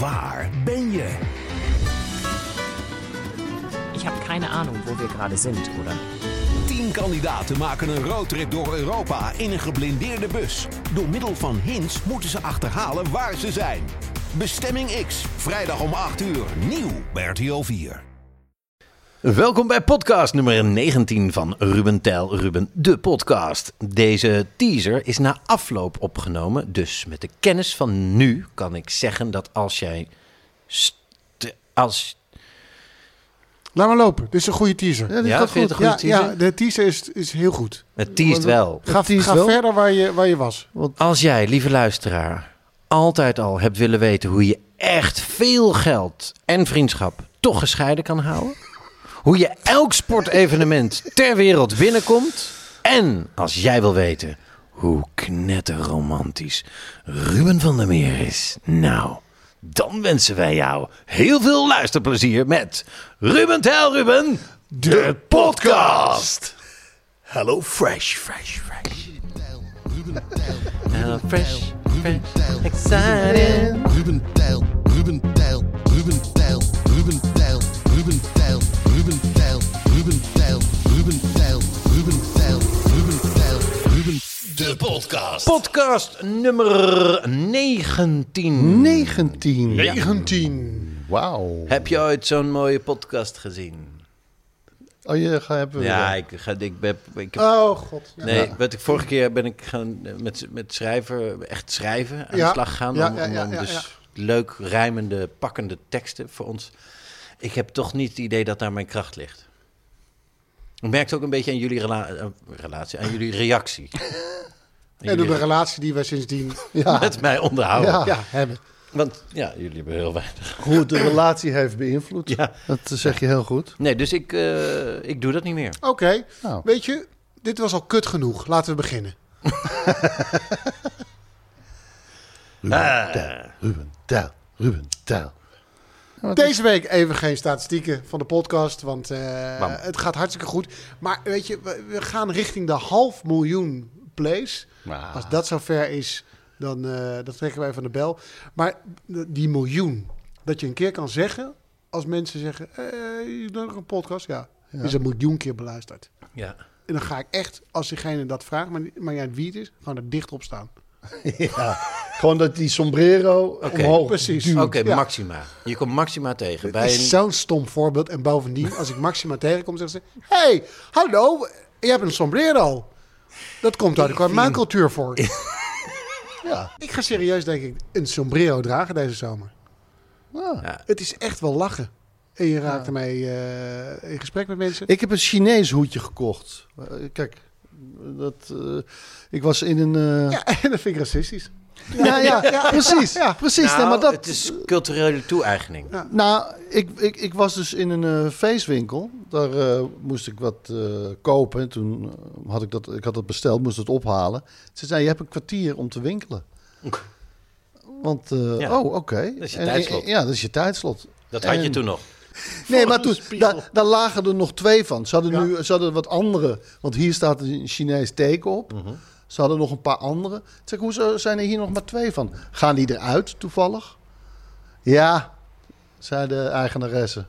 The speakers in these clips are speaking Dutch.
Waar ben je? Ich habe keine Ahnung, wo wir gerade sind, oder? Tien kandidaten maken een roadtrip door Europa in een geblindeerde bus. Door middel van hints moeten ze achterhalen waar ze zijn. Bestemming X, vrijdag om 8 uur, nieuw bij RTL 4. Welkom bij podcast nummer 19 van Ruben Tel Ruben, de podcast. Deze teaser is na afloop opgenomen, dus met de kennis van nu kan ik zeggen dat als jij... st- als, Laat maar lopen. Dit is een goede teaser. dit Ja, gaat vind je goed. het een goede ja, teaser? ja, de teaser is, is heel goed. het teast wel. Ga, ga verder waar je, waar je was. Want als jij, lieve luisteraar, altijd al hebt willen weten hoe je echt veel geld en vriendschap toch gescheiden kan houden. Hoe je elk sportevenement ter wereld binnenkomt. En als jij wil weten hoe knetterromantisch Ruben van der Meer is. Nou, dan wensen wij jou heel veel luisterplezier met Ruben Tel Ruben, de podcast. Hello Fresh, Fresh, Fresh. Hello Fresh, Fresh, excited. Ruben Tijl, Ruben Tijl, Ruben Tijl, Ruben Tijl, Ruben Tijl, Ruben Tijl, Ruben Tijl, Ruben Tijl, Ruben Tijl, Ruben Tijl, Ruben De podcast. Podcast nummer 19. 19. 19. Wauw. Heb je ooit zo'n mooie podcast gezien? Oh, je gaat hebben we Ja, weer. ik, ga- ik ben... Ik, heb- Oh god. Ja. nee, wat ik, vorige keer ben ik gaan eh, met, met schrijven, echt schrijven, aan Ja. de slag gaan. Ja, om, ja, om ja, dan ja, dus ja. leuk rijmende, pakkende teksten voor ons. Ik heb toch niet het idee dat daar mijn kracht ligt. Ik merk het ook een beetje aan jullie rela- eh, relatie, aan jullie reactie. Aan En door jullie de relatie die wij sindsdien met mij onderhouden. Ja. ja, hebben. Want ja, jullie hebben heel weinig. Hoe het de relatie heeft beïnvloed. Ja. Dat zeg je heel goed. Nee, dus ik, eh, ik doe dat niet meer. Oké. Nou. Weet je, dit was al kut genoeg. Laten we beginnen. Nou, Ah, Ruben Tijl, Ruben Tijl. Deze week even geen statistieken van de podcast, want eh, Bam. het gaat hartstikke goed. Maar weet je, we, we gaan richting de half miljoen plays. Ah. Als dat zover is, dan, eh dan trekken wij van de bel. Maar die miljoen, dat je een keer kan zeggen, als mensen zeggen, eh, je doet nog een podcast, ja, is een miljoen keer beluisterd. Ja. En dan ga ik echt, als diegene dat vraagt, maar, maar jij wie het is, gewoon er dicht op staan. Ja. Gewoon dat die sombrero omhoog Precies. duwt. Oké, Ja. Maxima. Je komt Maxima tegen. Bij is een... zo'n stom voorbeeld. En bovendien, als ik Maxima tegenkom, zeggen ze... hey, hallo, je hebt een sombrero. Dat komt uit de karmaancultuur voor. Ja. Ik ga serieus, denk ik, een sombrero dragen deze zomer. Ah. Ja. Het is echt wel lachen. En je raakt ermee eh, in gesprek met mensen. Ik heb een Chinees hoedje gekocht. Eh, Kijk, dat, eh, ik was in een... eh, Ja, en dat vind ik racistisch. Ja, ja, precies. precies. Nou, nee, maar dat, Het is culturele toe-eigening. Nou, ik, ik, ik was dus in een eh, feestwinkel. Daar eh, moest ik wat eh, kopen. En toen eh, had ik dat, ik had dat besteld, moest het ophalen. Ze zei, je hebt een kwartier om te winkelen. Want, eh, Ja. oh, oké. Dat is je En- en- tijdslot. ja, dat is je tijdslot. Dat had je En- toen nog. Nee, maar toen, spiegel. daar, daar lagen er nog twee van. Ze hadden, nu, ze hadden wat andere. Want hier staat een Chinees teken op. Mhm. Ze hadden nog een paar andere. Toen Zeg, hoezo zijn er hier nog maar twee van? Gaan die eruit toevallig? Ja, zei de eigenaresse.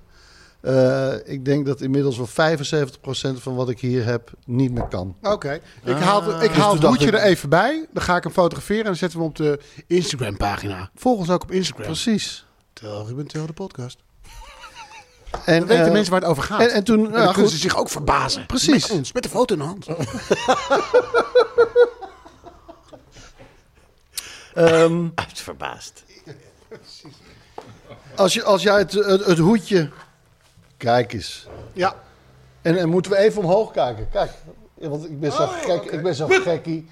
Eh, ik denk dat inmiddels wel 75% van wat ik hier heb niet meer kan. Oké, ik haal, ik Dus haal toen het dacht hoedje ik- er even bij. Dan ga ik hem fotograferen en dan zetten we hem op de Instagram-pagina. Volg ons ook op Instagram. Precies. Tel Ruben, tel de podcast. En, Dan weten eh, mensen waar het over gaat. en, en toen, En nou, dan kunnen goed, ze zich ook verbazen. Precies. Met ons, met de foto in de hand. ehm, Uit verbaasd. als, je, als jij het, het, het hoedje. Kijk eens. Ja. En, en moeten we even omhoog Oh, kijken? Kijk, want ik ben zo'n gek, ik ben zo'n gekkie.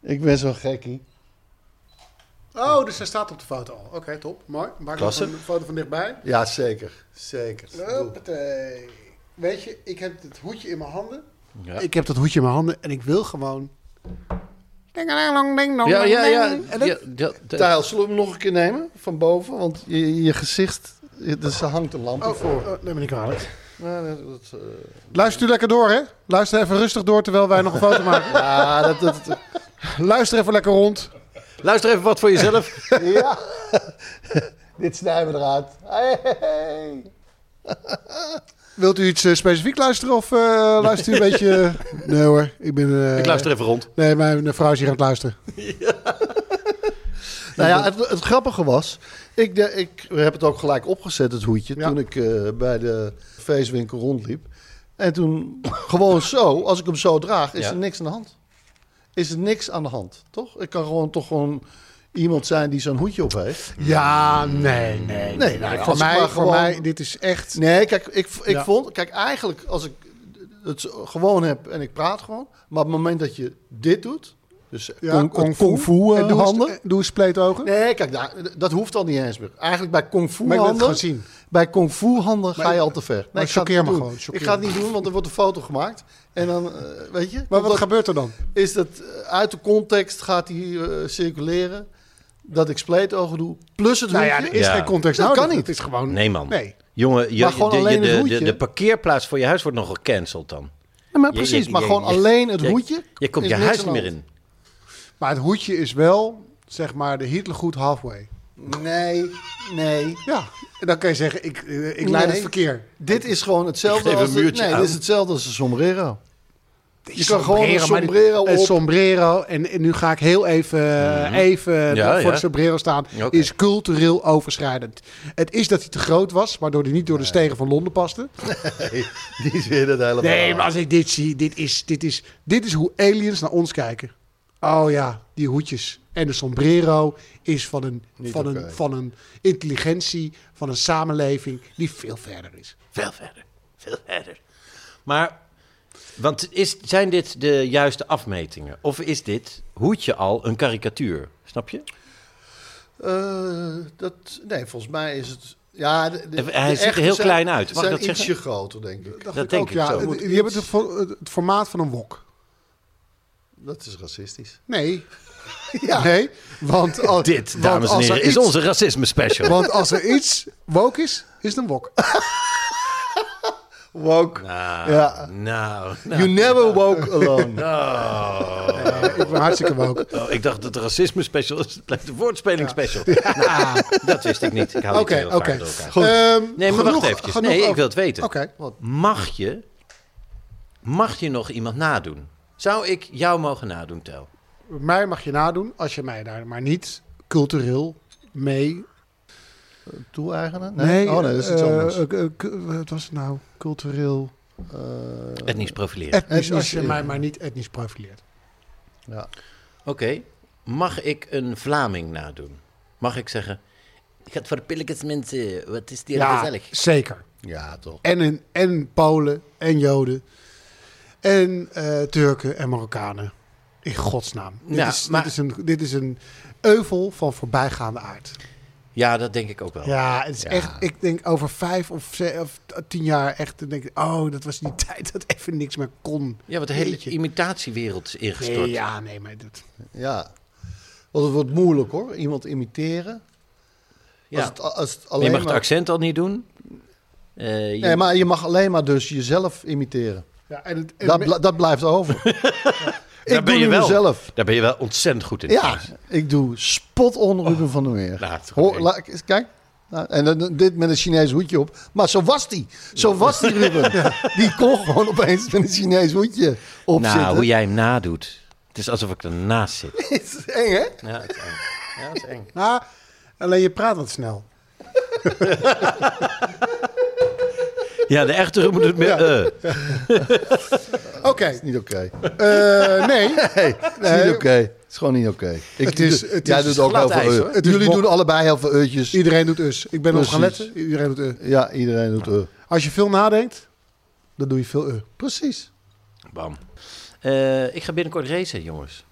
Ik ben zo'n gekkie. Oh, dus hij staat op de foto al. Oké, top. Mooi. Maak nog Klasse. een foto van dichtbij. Ja, zeker. Zeker. Hoppatee. Weet je, ik heb het hoedje in mijn handen. Ja. Ik heb dat hoedje in mijn handen en ik wil gewoon... Ding-a-ding-dong, ding-dong, Ja, ja, ja. ding. En dat- ja, dat- dat- Tijl, zullen we hem nog een keer nemen? Van boven? Want je, je gezicht... Dus er hangt een lampje Oh, voor. oh, neem me niet kwalijk. Nou, dat- dat, eh, Luister u lekker door, hè? Luister even rustig door terwijl wij nog een foto maken. ja, dat, dat, Luister even lekker rond. Luister even wat voor jezelf. ja. Dit snijden we eruit. Hey, hey, hey. Wilt u iets eh, specifiek luisteren of eh, luistert u een beetje... Nee hoor, ik ben... eh, Ik luister even rond. Nee, mijn eh, vrouw is hier aan het luisteren. Nou ja, het, het grappige was, ik, de, ik heb het ook gelijk opgezet, het hoedje, Ja. toen ik eh, bij de feestwinkel rondliep. En toen gewoon zo, als ik hem zo draag, is Ja. er niks aan de hand. Is er niks aan de hand, toch? Ik kan gewoon toch gewoon iemand zijn die zo'n hoedje op heeft. Ja, nee, nee. Nee, nou, voor als ik mij, maar voor gewoon- mij, dit is echt... Nee, kijk, ik, ik Ja. vond, kijk, eigenlijk als ik het gewoon heb en ik praat gewoon, maar op het moment dat je dit doet, dus kung- kung kung fu, eh, En doe eens- handen. eh, Doe eens pleetogen. Nee, kijk, daar- dat hoeft al niet eens meer. Eigenlijk bij kung fu Maar ik wil het handen, gewoon zien. bij kung fu handen ga Maar- je al te ver. Nee, maar ik ga het choqueer niet me doen. gewoon, choqueer Ik ga het me. niet doen, want er wordt een foto gemaakt. En dan, eh, weet je, Maar wat omdat- gebeurt er dan? is dat eh, uit de context gaat die eh, circuleren. Dat ik spleetogen doe, plus het Nou ja, hoedje. er is Ja. geen context Dat nodig. kan niet. Het is gewoon... Nee, man. Nee. Jongen, je, Maar gewoon de, je- alleen de, het de, hoedje. de parkeerplaats voor je huis wordt nog gecanceld dan. Ja, maar Je- precies, je- maar je- gewoon je- alleen het je- hoedje. Je komt is je niks huis aan niet de meer hand. in. Maar het hoedje is wel, zeg maar, de Hitlergoed halfway. Nee, nee. Ja, en dan kan je zeggen, ik, eh, ik leid het Nee. verkeer. Dit is gewoon Ik hetzelfde geef als een de, muurtje nee, aan. dit is hetzelfde als een sombrero. Die kan gewoon een maar die- sombrero een op. sombrero. En, en nu ga ik heel even, eh, even Mhm. Ja, voor ja. de sombrero staan. Oké. Is cultureel overschrijdend. Het is dat hij te groot was, waardoor hij niet door de stegen van Londen paste. Die is weer dat hele Nee, verhaal. maar als ik dit zie, dit is, dit is, dit is hoe aliens naar ons kijken. Oh ja, die hoedjes. En de sombrero is van een, van oké. een, van een intelligentie, van een samenleving die veel verder is. Veel verder. Veel verder. Maar, want is, zijn dit de juiste afmetingen? Of is dit hoedje al een karikatuur? Snap je? Eh, dat, nee, volgens mij is het... Ja, de- de- Hij de ziet er echte heel zijn- klein uit, mag ik zijn dat ietsje zeggen? groter, denk ik. Dat denk ik zo. ja, het- die hebben het, vo- het- het formaat van een wok. Dat is racistisch. Nee. Nee, want, al- Dit, want dames en als er heren, is iets- onze racisme special. Want als er iets woke is, is het een wok. Woke. Nou, Ja. nou, nou. You never woke alone. Oh. Ik ben hartstikke woke. Oh, ik dacht dat het racisme special is. Het blijft een woordspeling special. Nou, dat wist ik niet. Ik hou Oké, niet heel vaak oké. door elkaar. Ehm, Nee, maar genoeg- wacht eventjes. genoeg nee, ik over- wil het weten. Oké. Mag je, mag je nog iemand nadoen? Zou ik jou mogen nadoen, Tel? Mij mag je nadoen als je mij daar maar niet cultureel mee. Toe-eigenen? Nee. Oh nee, dat is iets eh, anders. eh, eh, cu- wat was het nou? Cultureel. eh, Etnisch profileren. Etnisch, etnisch, als je ja. mij maar niet etnisch profileert. ja. Oké, mag ik een Vlaming nadoen? Mag ik zeggen... Ik ga het voor de pilletjes mensen. Wat is die gezellig? zeker. ja, toch. En, in, en Polen en Joden. En eh, Turken en Marokkanen. In godsnaam. Ja, dit, is, maar- dit, is een, dit is een euvel van voorbijgaande aard. Ja, dat denk ik ook wel. Ja, het is Ja. echt. Ik denk over vijf of, ze- of tien jaar echt. Dan denk ik, oh, dat was die tijd dat even niks meer kon. Ja, want de hele Jeetje. imitatiewereld is ingestort. Nee, ja, nee, maar dat. Ja. Want het wordt moeilijk hoor, iemand imiteren. Ja. Als het, als het je alleen mag het maar, accent al niet doen. Eh, je- nee, maar je mag alleen maar dus jezelf imiteren. Ja, en het, en Dat, me- bl- dat blijft over. ik Daar ben doe je het wel. mezelf. Daar ben je wel ontzettend goed in. Ja, trouwens. ik doe spot on Ruben van der Meer. nou, het is Hoor, goed. la- kijk. Nou, en dan, dit met een Chinees hoedje op. Maar zo was die. Zo was die Ruben. Die kon gewoon opeens met een Chinees hoedje op nou, zitten. hoe jij hem nadoet. Het is alsof ik ernaast zit. Het is eng, hè? Ja, het is eng. Ja, het is eng. nou, alleen je praat wat snel. Ja, de echte Ruben doet meer. eh. Oké, Is niet oké. eh, nee. Is niet oké. Is gewoon niet oké. Ik- Het is- het jij is doet ook glad heel veel ijs, eu. hoor. Het is Jullie bo- doen allebei heel veel eutjes. Iedereen doet us. Ik ben op gaan Precies. letten. Iedereen doet us. ja, iedereen doet eu. Als je veel nadenkt, dan doe je veel u. Precies. Bam. Eh, ik ga binnenkort racen, jongens.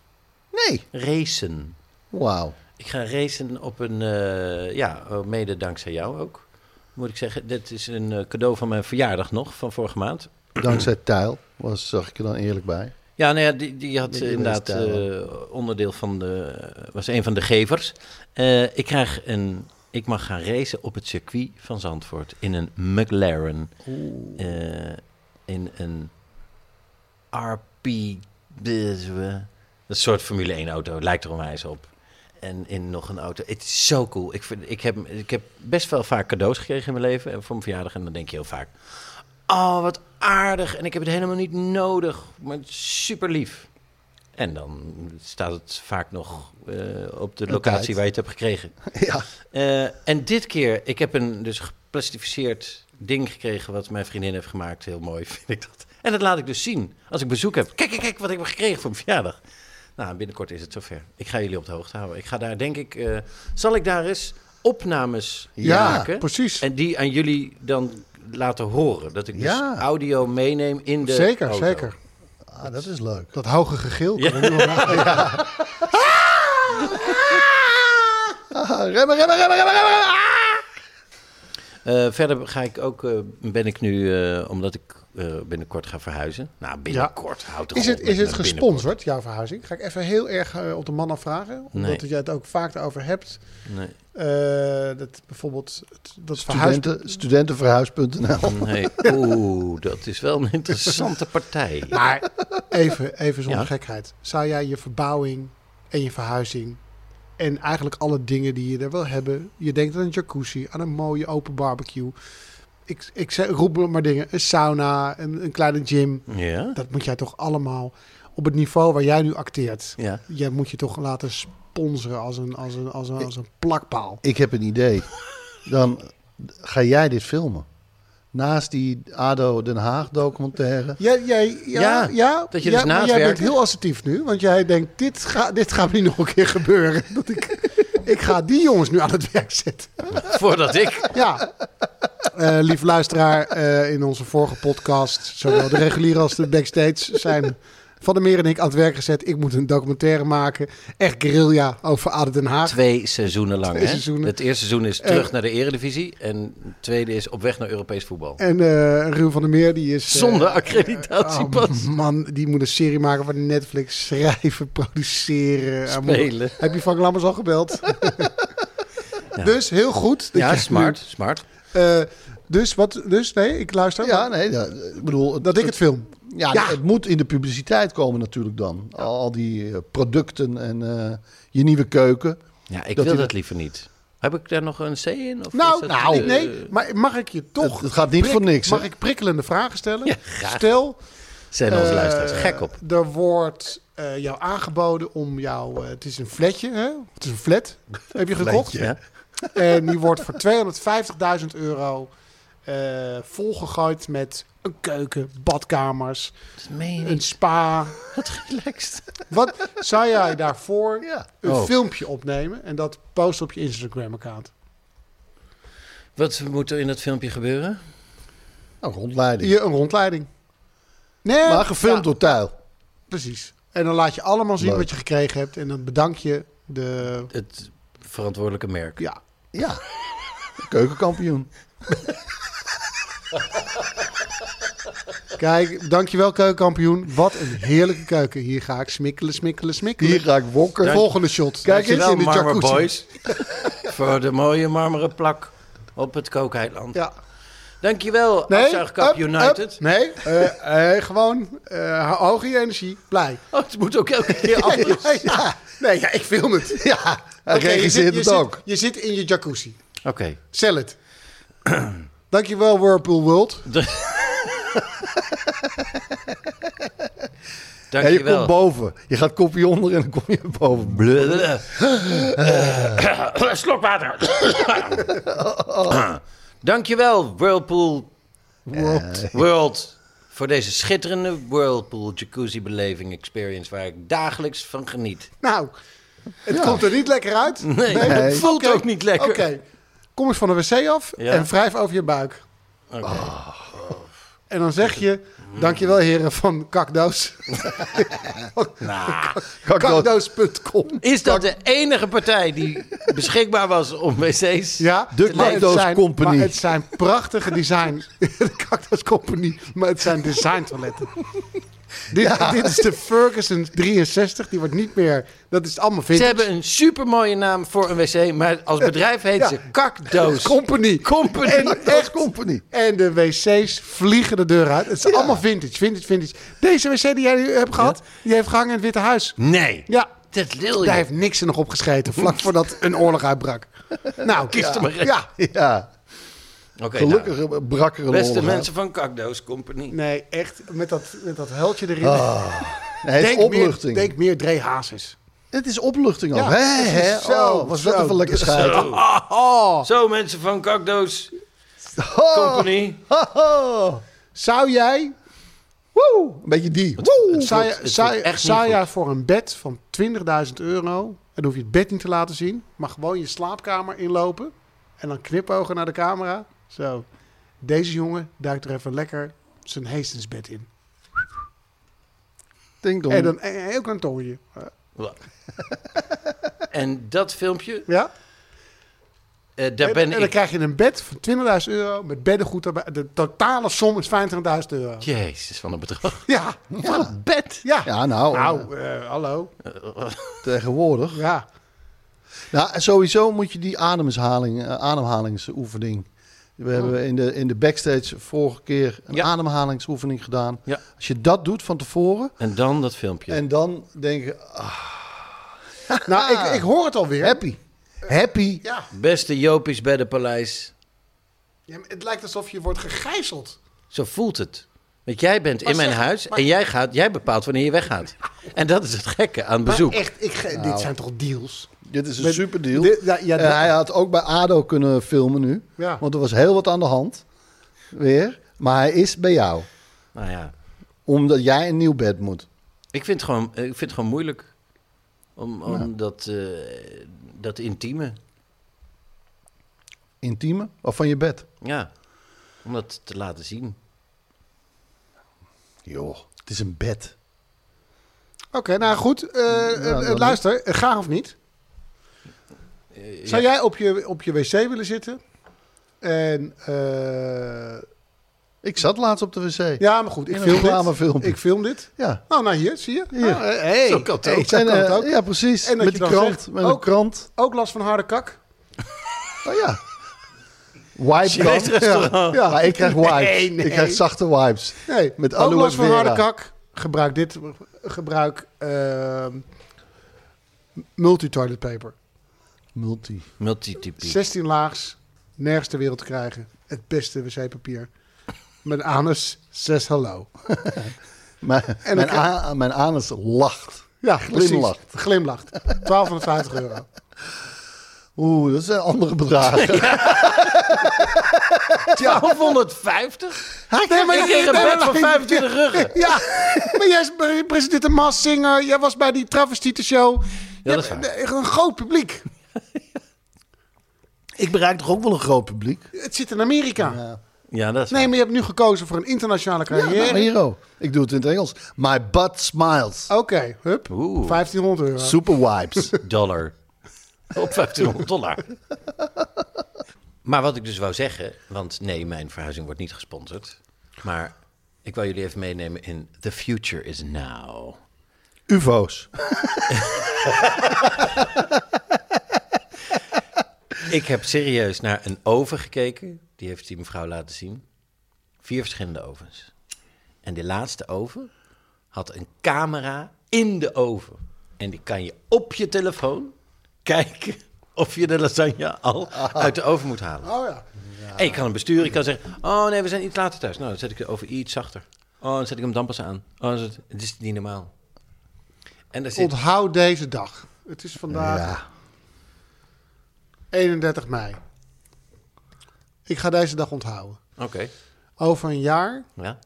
Nee. Racen. Wauw. Ik ga racen op een, eh, ja, mede dankzij jou ook, moet ik zeggen. Dit is een eh, cadeau van mijn verjaardag nog, van vorige maand. Dankzij Tijl, was, zag ik er dan eerlijk bij. Ja, nou ja, die, die had eh, Met die inderdaad wedstrijden. eh, onderdeel van de. was een van de gevers. Eh, ik krijg een. Ik mag gaan racen op het circuit van Zandvoort. In een McLaren. Eh, in een RP. Een soort Formule 1 auto. Lijkt er onwijs op. En in nog een auto. Het is zo cool. Ik, vind- ik, heb, ik heb best wel vaak cadeaus gekregen in mijn leven. En voor mijn verjaardag. En dan denk je heel vaak. Oh, wat aardig. En ik heb het helemaal niet nodig. Maar het is super lief. En dan staat het vaak nog eh, op de Een locatie tijd. waar je het hebt gekregen. ja, Eh, en dit keer, ik heb een dus geplastificeerd ding gekregen wat mijn vriendin heeft gemaakt. Heel mooi vind ik dat. En dat laat ik dus zien als ik bezoek heb. Kijk, kijk, kijk wat ik heb gekregen voor mijn verjaardag. Nou, binnenkort is het zover. Ik ga jullie op de hoogte houden. Ik ga daar denk ik, eh, zal ik daar eens opnames Ja, maken? precies. En die aan jullie dan laten horen. Dat ik dus Ja. audio meeneem in Eh, de zeker, auto. zeker. ah, dat is leuk. Dat houge gegil. Ja. kan er nu wel na- Haha, Ah, remmen, remmen, remmen, remmen, remmen. Ah! Eh, verder ga ik ook, eh, ben ik nu, eh, omdat ik eh, binnenkort ga verhuizen. Nou, binnenkort houdt toch Is op het, met is mijn het binnenkort. gesponsord, jouw verhuizing? Ga ik even heel erg eh, op de mannen vragen. Omdat Nee. jij het ook vaak over hebt. Nee. Eh, dat bijvoorbeeld het- dat verhuis... Studenten, studentenverhuis.nl. Nou. Nee, oeh, dat is wel een interessante partij. Maar even, even zonder Ja. gekheid. Zou jij je verbouwing en je verhuizing... en eigenlijk alle dingen die je er wil hebben... je denkt aan een jacuzzi, aan een mooie open barbecue... Ik, ik zeg- roep maar dingen. Een sauna, een, een kleine gym. Ja? Dat moet jij toch allemaal op het niveau waar jij nu acteert. Ja. Jij moet je toch laten sponsoren als een, als een, als een, als een plakpaal. Ik heb een idee. Dan ga jij dit filmen. Naast die ADO Den Haag documentaire. Jij, jij, ja, Ja, ja, dat je ja, dus na maar het jij werken- bent heel assertief nu, want jij denkt, dit, ga, dit gaat me niet nog een keer gebeuren. Dat ik, ik ga die jongens nu aan het werk zetten. Voordat ik. Ja. Eh lieve luisteraar, eh, in onze vorige podcast, zowel de reguliere als de backstage, zijn Van der Meer en ik aan het werk gezet. Ik moet een documentaire maken, echt guerrilla, over Aden Den Haag. Twee seizoenen lang. Twee hè? seizoenen. Het eerste seizoen is terug naar de Eredivisie. En het tweede is op weg naar Europees voetbal. En eh Ruud van der Meer, die is... eh, Zonder accreditatiepas. oh, man, die moet een serie maken voor Netflix. Schrijven, produceren. Ah, man. Spelen. Heb je Frank Lammers al gebeld? Dus heel goed. dat ja, je- smart, smart. Eh, dus wat? Dus nee, ik luister. Ja, nee, ja, ik bedoel... het- Dat ik het film. Ja, Ja. het moet in de publiciteit komen natuurlijk dan. Al, al die eh, producten en eh, je nieuwe keuken. Ja, ik Dat wil hij- dat liever niet. Heb ik daar nog een C in? Of is Nou, dat, nou eh, nee, maar mag ik je toch? Het- het gaat niet voor niks, hè? Mag ik prikkelende vragen stellen? Ja, graag. Stel, Zijn onze Eh, luisteraars gek op. Er wordt eh, jou aangeboden om jou... eh, het is een flatje, hè? Het is een flat. Heb je gekocht? Ja. En die wordt voor 250.000 euro eh, volgegooid met een keuken, badkamers, Dat meen je een niet. spa. Wat relaxed. Wat zou jij daarvoor Ja. een Oh. filmpje opnemen en dat posten op je Instagram-account? Wat moet er in dat filmpje gebeuren? Nou, rondleiding. Je een rondleiding. Nee, maar gefilmd ja, door Tuil. Precies. En dan laat je allemaal zien Leuk. wat je gekregen hebt en dan bedank je de... Het verantwoordelijke merk. Ja, Ja. Keukenkampioen. kijk, dankjewel keukenkampioen. Wat een heerlijke keuken. Hier ga ik smikkelen, smikkelen, smikkelen. Hier ga ik wokken. Volgende shot. Kijk eens Dankjewel, in de Marmer jacuzzi. Boys. voor de mooie marmeren plak op het Kookeiland. Ja. Dankjewel, Nee, Afzuigkap up, United. up. nee, eh, eh, gewoon eh hoge energie, blij. Oh, het moet ook elke keer Ja, anders. ja. Nee, ja, ik film het. Ja, hij Oké, je regisseert zit- je het zit- ook. je zit in je jacuzzi. Oké. Sell it. Dankjewel, Whirlpool World. En je Dankjewel. komt boven. Je gaat kopje onder en dan kom je boven. Blablabla. Eh, Slokwater. Dankjewel, Whirlpool Eh, World. World. Voor deze schitterende Whirlpool Jacuzzi Beleving Experience, waar ik dagelijks van geniet. Nou, het komt er niet lekker uit. Nee, het voelt Oké, ook niet lekker. Oké, kom eens van de wc af Ja. en wrijf over je buik. Oké. Oh. En dan zeg je, dankjewel heren van Kakdoos. Kakdoos.com. Is dat de enige partij die beschikbaar was om wc's? Ja, De maar het Kakdoos zijn- Company. Maar het zijn prachtige design. De Kakdoos Company, maar het zijn design toiletten. dit, dit is de Ferguson 63, die wordt niet meer. Dat is allemaal Ze vintage. hebben een supermooie naam voor een wc, maar als bedrijf heet Ja. ze Kakdoos. Company. Company. En, echt, company. en de wc's vliegen de deur uit. Het is allemaal vintage, vintage, vintage. Deze wc die jij nu hebt gehad, die heeft gehangen in het Witte Huis. Nee. Ja. Dat lul je. Daar heeft niks er nog op gescheten, vlak voordat een oorlog uitbrak. Nou, Kist ja. er maar in. Ja, Ja, Oké, nou, gelukkig brakkere brak er een beste oorlog uit. mensen van Kakdoos Company. nee, echt, met dat, met dat huiltje erin. Nee, het is opluchting. Meer, denk meer Dre Hazes. Het is opluchting al. Ja, hè, precies. hè? Zo, Oh, was dat zo, even lekker schijt. Zo, mensen van Kakdoos Company. Zou jij, Woe, een beetje die. Woe. zou, jij- het zou, voelt echt niet zou goed. jij voor een bed van 20.000 euro, en dan hoef je het bed niet te laten zien, maar gewoon je slaapkamer inlopen en dan knipogen naar de camera. Zo, deze jongen duikt er even lekker zijn Hastensbed in. Ding dong. En dan een heel klein tongetje. En dat filmpje, Ja? eh, daar En- ben en dan ik... krijg je een bed van 20.000 euro met beddengoed erbij. De totale som is 25.000 euro. Jezus, van een bedrag. Ja, Bed. ja. Ja, nou, Nou, eh, hallo. tegenwoordig. Ja. Nou, sowieso moet je die ademhaling, eh, ademhalingsoefening. We Oh. hebben in de, in de backstage vorige keer een Ja. ademhalingsoefening gedaan. Ja. Als je dat doet van tevoren En dan dat filmpje. en dan denk je, ah, Nou, ik, ik hoor het alweer. happy. Happy. Ja. Beste Jopies bij de paleis. Ja, maar het lijkt alsof je wordt gegijzeld. Zo voelt het. Want jij bent in mijn zeg- huis maar- en jij, gaat, jij bepaalt wanneer je weggaat. En dat is het gekke aan Maar bezoek. echt, ik, ge- dit zijn toch deals? Dit is een Met- superdeal. dit- ja, ja, En dit- hij had ook bij ADO kunnen filmen nu. Ja. Want er was heel wat aan de hand. Weer. Maar hij is bij jou. Nou ja, Omdat jij een nieuw bed moet. ik vind het gewoon, ik vind het gewoon moeilijk. Om, om dat, eh, dat intieme, Intieme. Of van je bed. ja, om dat te laten zien. Joh. Het is een bed. Oké, nou goed. eh, eh, eh, dan luister, eh, graag of niet? Eh, Zou ja. jij op je, op je wc willen zitten? En, eh, Ik zat laatst op de wc. ja, maar goed, ik In een film reclamefilm. dit. Ik film dit. Ja. Oh, nou hier, zie je. Hier. Ah, eh, hey. Zo kan het Hey, ook. zo En, kan het eh, ook. Ja, precies. En dat met je die dan krant. zegt, met een ook- krant. Ook last van harde kak. Oh ja. Wipe Chinees krant. Ja. ja, maar ik krijg wipes. Nee, nee. Ik krijg zachte wipes. Nee, Met ook aloe last van vera. harde kak. Gebruik dit. Gebruik ehm multi-toilet paper. Multi. Multitypie. 16 laags, nergens ter wereld te krijgen. Het beste wc-papier. Mijn anus, zes hallo. Mijn, dan mijn, krijg- a- mijn anus lacht. Ja, Glimlacht. precies. Glimlacht. 1250 euro. Oeh, dat zijn andere bedragen. 1250? Nee, maar Ik kreeg een bed van 25 ruggen. Ja, maar jij is- maar je presenteert een massinger. Jij was bij die travestietenshow. Ja, dat is waar. Echt een groot publiek. Ik bereik toch ook wel een groot publiek? Het zit in Amerika. Ja, dat is Nee, waar. maar je hebt nu gekozen voor een internationale Ja, carrière. nou, hero. Ik doe het in het Engels. My butt smiles. Oké, hup. Oeh. 1500 euro. Super wipes. dollar. Op 1500 dollar. Maar wat ik dus wou zeggen, want nee, mijn verhuizing wordt niet gesponsord. Maar ik wou jullie even meenemen in The Future is Now. UFO's. Ik heb serieus naar een oven gekeken. Die heeft die mevrouw laten zien. Vier verschillende ovens. En die laatste oven had een camera in de oven. En die kan je op je telefoon kijken of je de lasagne al uit de oven moet halen. Oh ja. En ik kan hem besturen. Ik kan zeggen, oh nee, we zijn iets later thuis. Nou, dan zet ik de oven iets zachter. Oh, dan zet ik hem dan pas aan. Oh, dan zet- het is niet normaal. En daar zit... Onthoud deze dag. Het is vandaag 31 mei. Ik ga deze dag onthouden. Oké, Over een jaar ja.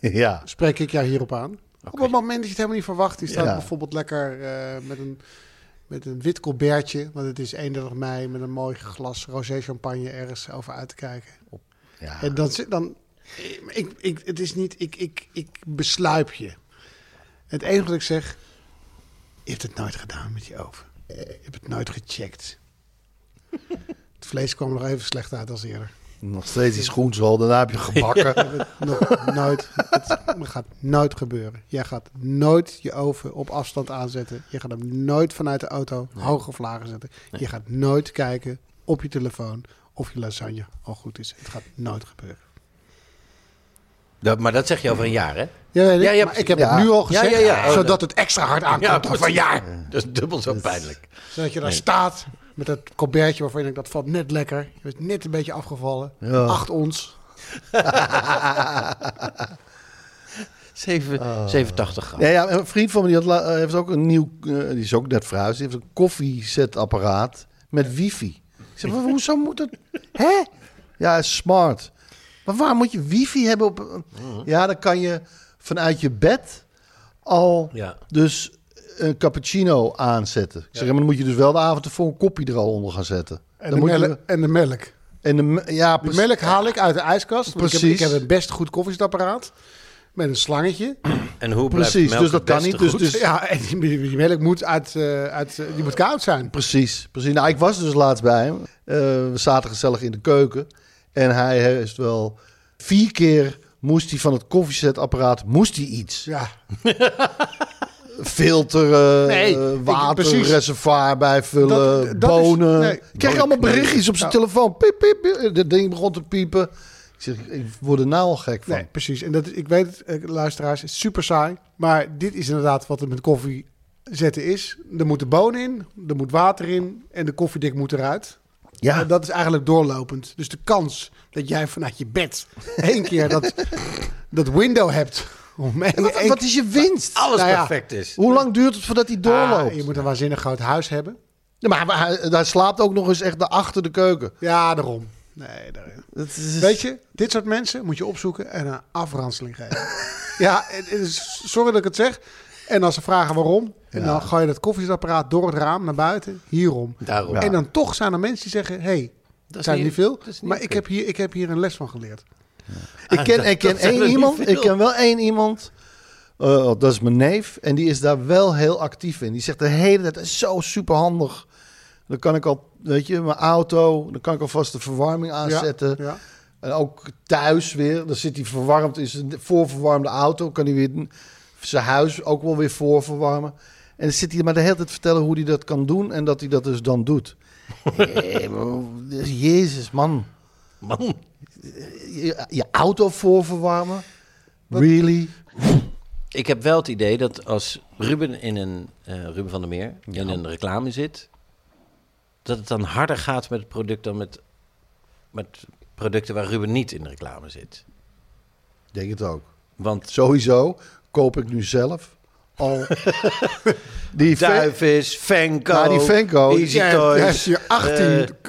ja. spreek ik jou hierop aan. Op het moment dat je het helemaal niet verwacht, je staat Ja. bijvoorbeeld lekker eh, met, een, met een wit colbertje, want het is 31 mei, met een mooi glas rosé champagne ergens over uit te kijken. ja. En dan, zit- dan Eh, maar Ik, ik, het is niet, ik, ik, ik besluip je. Het enige wat ik zeg, je hebt het nooit gedaan met je oven. Je hebt het nooit gecheckt. Het vlees kwam er nog even slecht uit als eerder. Nog steeds is groenzool, daarna heb je gebakken. Nog nooit. Het gaat nooit gebeuren. Jij gaat nooit je oven op afstand aanzetten. Je gaat hem nooit vanuit de auto hoog of lager zetten. Je gaat nooit kijken op je telefoon of je lasagne al goed is. Het gaat nooit gebeuren. Dat, maar dat zeg je over een jaar, hè? Ja, weet ik, Ja, ja, maar ik heb precies. het nu al Ja, gezegd, ja, ja. Oh, zodat dat- het extra hard aankomt. over een jaar. Dat is dubbel zo pijnlijk. Zodat je daar staat met dat colbertje waarvan je denkt, dat valt net lekker. Je bent net een beetje afgevallen. Acht ons. 7, Ah. 87 gram. Ja, ja, een vriend van me die had, la- eh, heeft ook een nieuw, eh, die is ook net verhuisd, die heeft een koffiezetapparaat met wifi. Ik zeg, maar hoezo moet dat? Hè? Ja, is smart. Maar waar moet je wifi hebben op? een- Ja, dan kan je vanuit je bed al Ja. dus een cappuccino aanzetten. Ik zeg, ja, maar dan moet je dus wel de avond ervoor een kopje er al onder gaan zetten. En, dan de, moet je- melk, en de melk. en de me- ja, De precies. melk haal ik uit de ijskast. want Ik heb, ik Precies. heb een best goed koffiezetapparaat. Met een slangetje. En hoe Precies, blijft melk dus dat het kan beste niet, dus- goed? dus- Ja, en die, die melk moet, uit, eh, uit, eh, die moet koud zijn. Precies, precies. Nou, ik was dus laatst bij hem. Eh, we zaten gezellig in de keuken. En hij heeft wel vier keer moest hij van het koffiezetapparaat moest hij iets. Ja, Filteren, Nee, eh, ik- precies. waterreservoir bijvullen, Dat- dat is- bonen. nee. Ik kreeg allemaal berichtjes op zijn telefoon. Piep, piep, piep. Dat ding begon te piepen. Ik zeg, ik word er nou al gek van. nee, precies. En dat, ik weet het, eh, luisteraars, het is super saai. Maar dit is inderdaad wat het met koffie zetten is. Er moeten bonen in, er moet water in en de koffiedik moet eruit. Ja. En dat is eigenlijk doorlopend. Dus de kans dat jij vanuit je bed één keer dat, dat window hebt. Om één- Wat, één- wat is je winst? Alles Nou ja. perfect is. Hoe lang duurt het voordat hij doorloopt? Ah, je moet een waanzinnig groot huis hebben. Ja, maar hij, hij slaapt ook nog eens echt achter de keuken. Ja, daarom. Nee, daarom. Dat is- Weet je, dit soort mensen moet je opzoeken en een afranseling geven. ja, het is- sorry dat ik het zeg. En als ze vragen waarom, en dan gooi je dat koffiezetapparaat door het raam naar buiten, hierom. Daarom. En dan toch zijn er mensen die zeggen, hey, dat is zijn niet- niet veel, dat is niet maar ik veel. heb, hier, ik heb hier een les van geleerd. Ik ken, ik ken dat zijn er één niet iemand. veel. Ik ken wel één iemand. eh, dat is mijn neef. En die is daar wel heel actief in. Die zegt de hele tijd, "Het is zo superhandig. Dan kan ik al, weet je, mijn auto. Dan kan ik alvast de verwarming aanzetten. Ja, ja. En ook thuis weer. Dan zit hij verwarmd in zijn voorverwarmde auto. Kan hij weer zijn huis ook wel weer voorverwarmen. En dan zit hij maar de hele tijd vertellen hoe hij dat kan doen. En dat hij dat dus dan doet. Eh, Jezus, man dus- Man. je, je auto voorverwarmen? Really? Ik heb wel het idee dat als Ruben, in een, eh, Ruben van der Meer in een reclame zit, dat het dan harder gaat met het product dan met, met producten waar Ruben niet in de reclame zit. Ik Denk het ook. Want Sowieso koop ik nu zelf al die vijf. Duivis, Venko, Nou, die Venco, die- Easy Jij hebt- jij hebt Toys. hier 18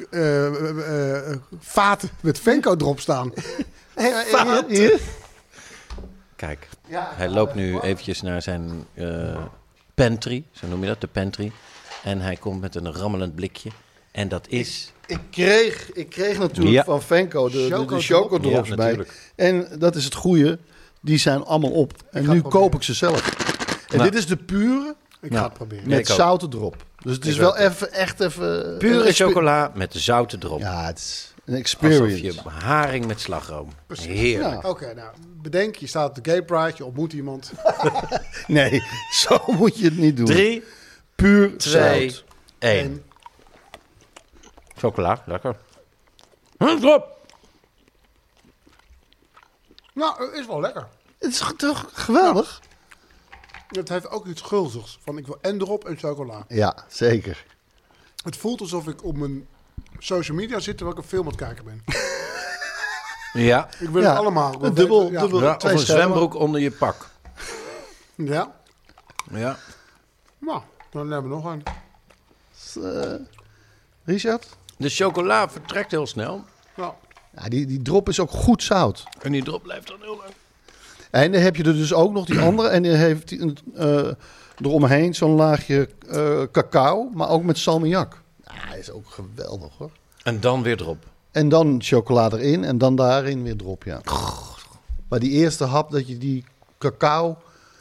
eh, eh, eh, eh, vaten met Venco erop staan. Kijk, hij loopt nu eventjes naar zijn eh, pantry, zo noem je dat, de pantry. En hij komt met een rammelend blikje. En dat is... Ik kreeg, ik kreeg natuurlijk Ja. van Venko de, de, de Chocodrop. chocodrops Ja, bij. natuurlijk. En dat is het goede. Die zijn allemaal op. En nu koop ik ze zelf. En Nou. dit is de pure Ik ga het proberen. met ook. zouten drop. Dus het is wel even, echt even... een Pure expe- chocola met zouten erop. Ja, het is een Alsof experience. je haring met slagroom. Heerlijk. Oké, nou, bedenk, je staat op de gay pride, je ontmoet iemand. Nee, zo moet je het niet doen. Drie, Puur twee, zout. één. Chocola, lekker. Hand op! Nou, is wel lekker. Het is toch geweldig? Het heeft ook iets gulzigs. Van ik wil en erop en chocola. Ja, zeker. Het voelt alsof ik op mijn social media zit terwijl ik een film aan het kijken ben. Ja. Ik wil Ja, het allemaal. Ik wil een dubbel- weten- ja. dubbel- ja of twee een sterren. zwembroek onder je pak. Ja. Ja. Nou, dan hebben we nog een. eh, Richard? De chocola vertrekt heel snel. Nou, Ja, die, die drop is ook goed zout. En die drop blijft dan heel lang. En dan heb je er dus ook nog die andere. En die heeft die, een, eh, eromheen zo'n laagje eh, cacao, maar ook met salmiak. Ja, is ook geweldig hoor. En dan weer drop. En dan chocola erin en dan daarin weer drop, ja. Maar die eerste hap, dat je die cacao,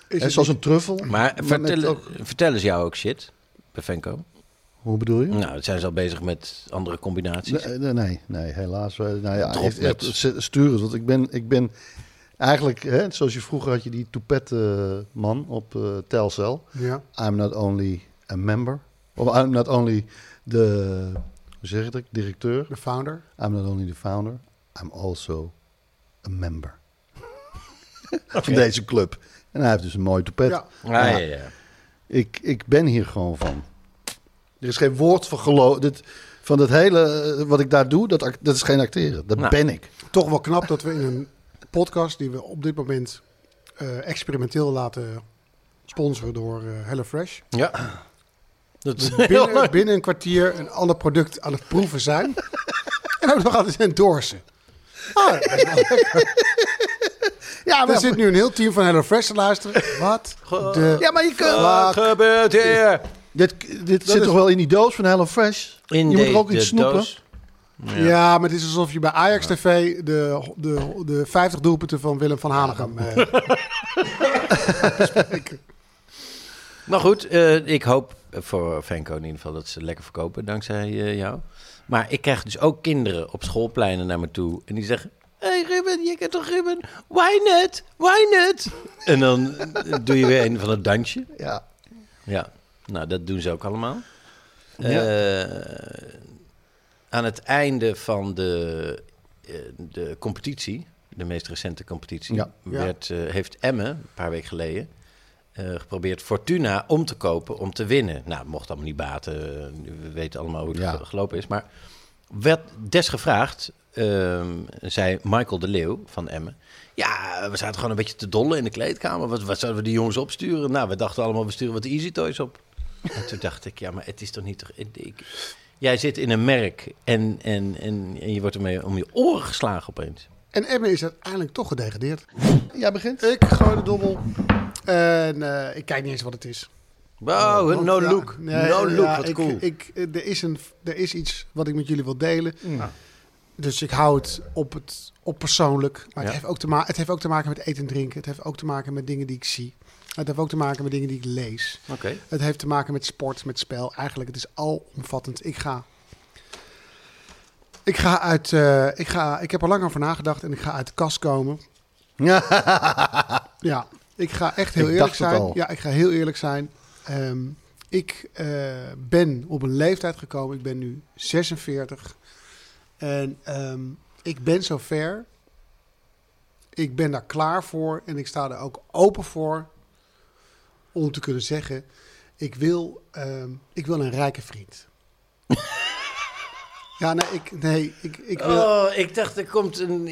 Is hè, het zoals niet- een truffel. Maar met vertellen, ook- vertellen ze jou ook shit, Bevenko? hoe bedoel je? Nou, dat zijn ze al bezig met andere combinaties. Hm? Nee, nee, nee, nee, helaas. eh, Nou ja, Drop echt, echt, met. stu- stuur het. Want ik ben, ik ben eigenlijk, hè, zoals je vroeger had je die toepet eh, man op eh, Telcel. Ja. I'm not only a member. Of I'm not only de, hoe zeg ik dat, directeur. De founder. I'm not only the founder. I'm also a member. Van deze club. En hij heeft dus een mooi toepet. Ja. Ah, ja, ja. ja. Ik, ik ben hier gewoon van. Er is geen woord van geloof. Dit, van dat hele eh, wat ik daar doe, dat, act- dat is geen acteren. Dat Nou. ben ik. Toch wel knap dat we in een podcast die we op dit moment eh, experimenteel laten sponsoren door eh, HelloFresh. Ja. Dat is heel Binnen, leuk. binnen een kwartier een ander product aan het proeven zijn. en ook nog aan het endorsen. Ah, dat is wel lekker. Ja, er zit nu een heel team van HelloFresh te luisteren. Wat? De... ja maar eh, je kunt. Wat gebeurt hier? dit dit zit toch wel in die doos van HelloFresh? In je moet er de- ook in de snoepen. doos. Ja. maar het is alsof je bij Ajax TV de, de, de 50 doelpunten van Willem van Hanegem... eh, Maar goed, eh, ik hoop voor Venko in ieder geval dat ze lekker verkopen dankzij eh, jou. Maar ik krijg dus ook kinderen op schoolpleinen naar me toe en die zeggen... Hé hey Ruben, je kent toch Ruben? Why not? Why not? En dan eh, doe je weer een van het dansje. Ja. Ja, nou dat doen ze ook allemaal. Ja. Eh, aan het einde van de, eh, de competitie, de meest recente competitie, Ja. Werd, eh, heeft Emmen een paar weken geleden eh, geprobeerd Fortuna om te kopen om te winnen. Nou, het mocht allemaal niet baten. eh, We weten allemaal hoe het Ja. ge- gelopen is. Maar werd desgevraagd, ehm, zei Michael de Leeuw van Emmen. Ja, we zaten gewoon een beetje te dollen in de kleedkamer. Wat, wat zouden we die jongens opsturen? Nou, we dachten allemaal, we sturen wat Easy Toys op. En toen dacht ik, ja, maar het is toch niet... Ik, jij zit in een merk en, en, en, en je wordt ermee om je oren geslagen opeens. en Emmen is uiteindelijk toch gedegradeerd. Jij begint? Ik gooi de dobbel. En eh, ik kijk niet eens wat het is. Wow, Oh, Want, Oh, no ja, look. nee, no look, ja, wat ik, cool. Ik, eh, er, is een, er is iets wat ik met jullie wil delen. Mm. Dus ik hou het op, het op persoonlijk. Maar het, Ja. heeft ook te ma- het heeft ook te maken met eten en drinken. Het heeft ook te maken met dingen die ik zie. Het heeft ook te maken met dingen die ik lees. Oké. Het heeft te maken met sport, met spel. Eigenlijk, het is alomvattend. Ik ga. Ik ga uit. eh, ik, ga, ik heb er lang over nagedacht en ik ga uit de kast komen. ja, ik ga echt heel Ik eerlijk dacht het zijn. al. Ja, ik ga heel eerlijk zijn. Ehm, ik eh, ben op een leeftijd gekomen. Ik ben nu 46. En ehm, ik ben zover. Ik ben daar klaar voor en ik sta er ook open voor om te kunnen zeggen: ik wil, ehm, ik wil een rijke vriend. ja, nee, ik, nee, ik, ik wil. Oh, ik dacht, er komt een...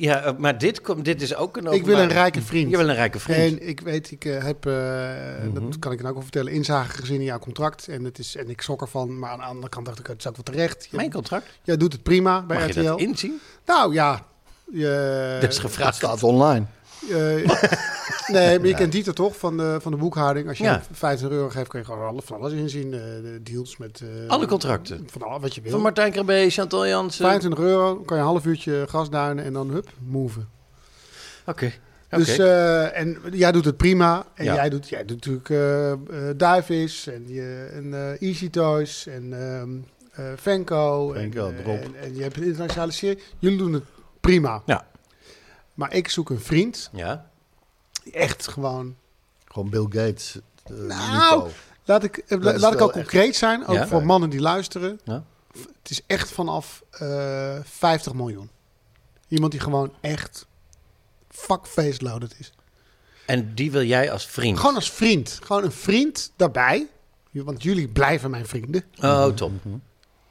Ja, maar dit, komt, dit is ook een Ik wil een openbaar- rijke vriend. Je wil een rijke vriend. Mhm. En ik weet, ik eh, heb, eh, dat kan ik dan ook wel vertellen, inzage gezien in jouw contract. En, het is, en ik sok ervan, maar aan de andere kant dacht ik, het is ook wel terecht. Je- Mijn contract? Jij doet het prima bij Mag je RTL. dat inzien? Nou ja, je, Dat is Het gevraagd. staat online. eh, nee, maar je kent Dieter toch van de, van de boekhouding. Als je Ja. hem 15 euro geeft, kun je gewoon alle- van alles inzien. eh, de deals met... eh, Alle contracten. Van alles wat je wil. Van Martijn Krabbe, Chantal Jansen. 25 euro, kan je een half uurtje gasduinen en dan hup, move. Oké. oké. Dus, eh, en jij doet het prima. En Ja. jij, doet, jij doet natuurlijk eh eh, Duivis en, je, en eh, Easy Toys en ehm eh, Venco. Venco, en, eh, Drop. En, en je hebt een internationale serie. Jullie doen het prima. Ja. Maar ik zoek een vriend ja. die echt gewoon... Gewoon Bill Gates. eh, Nou, niveau. Laat ik, eh, Dat is laat ik wel ook echt- concreet zijn, ook Ja. voor mannen die luisteren. Ja. V- Het is echt vanaf eh 50 miljoen. Iemand die gewoon echt fuck face loaded is. En die wil jij als vriend? Gewoon als vriend. Gewoon een vriend daarbij. Want jullie blijven mijn vrienden. Oh, top.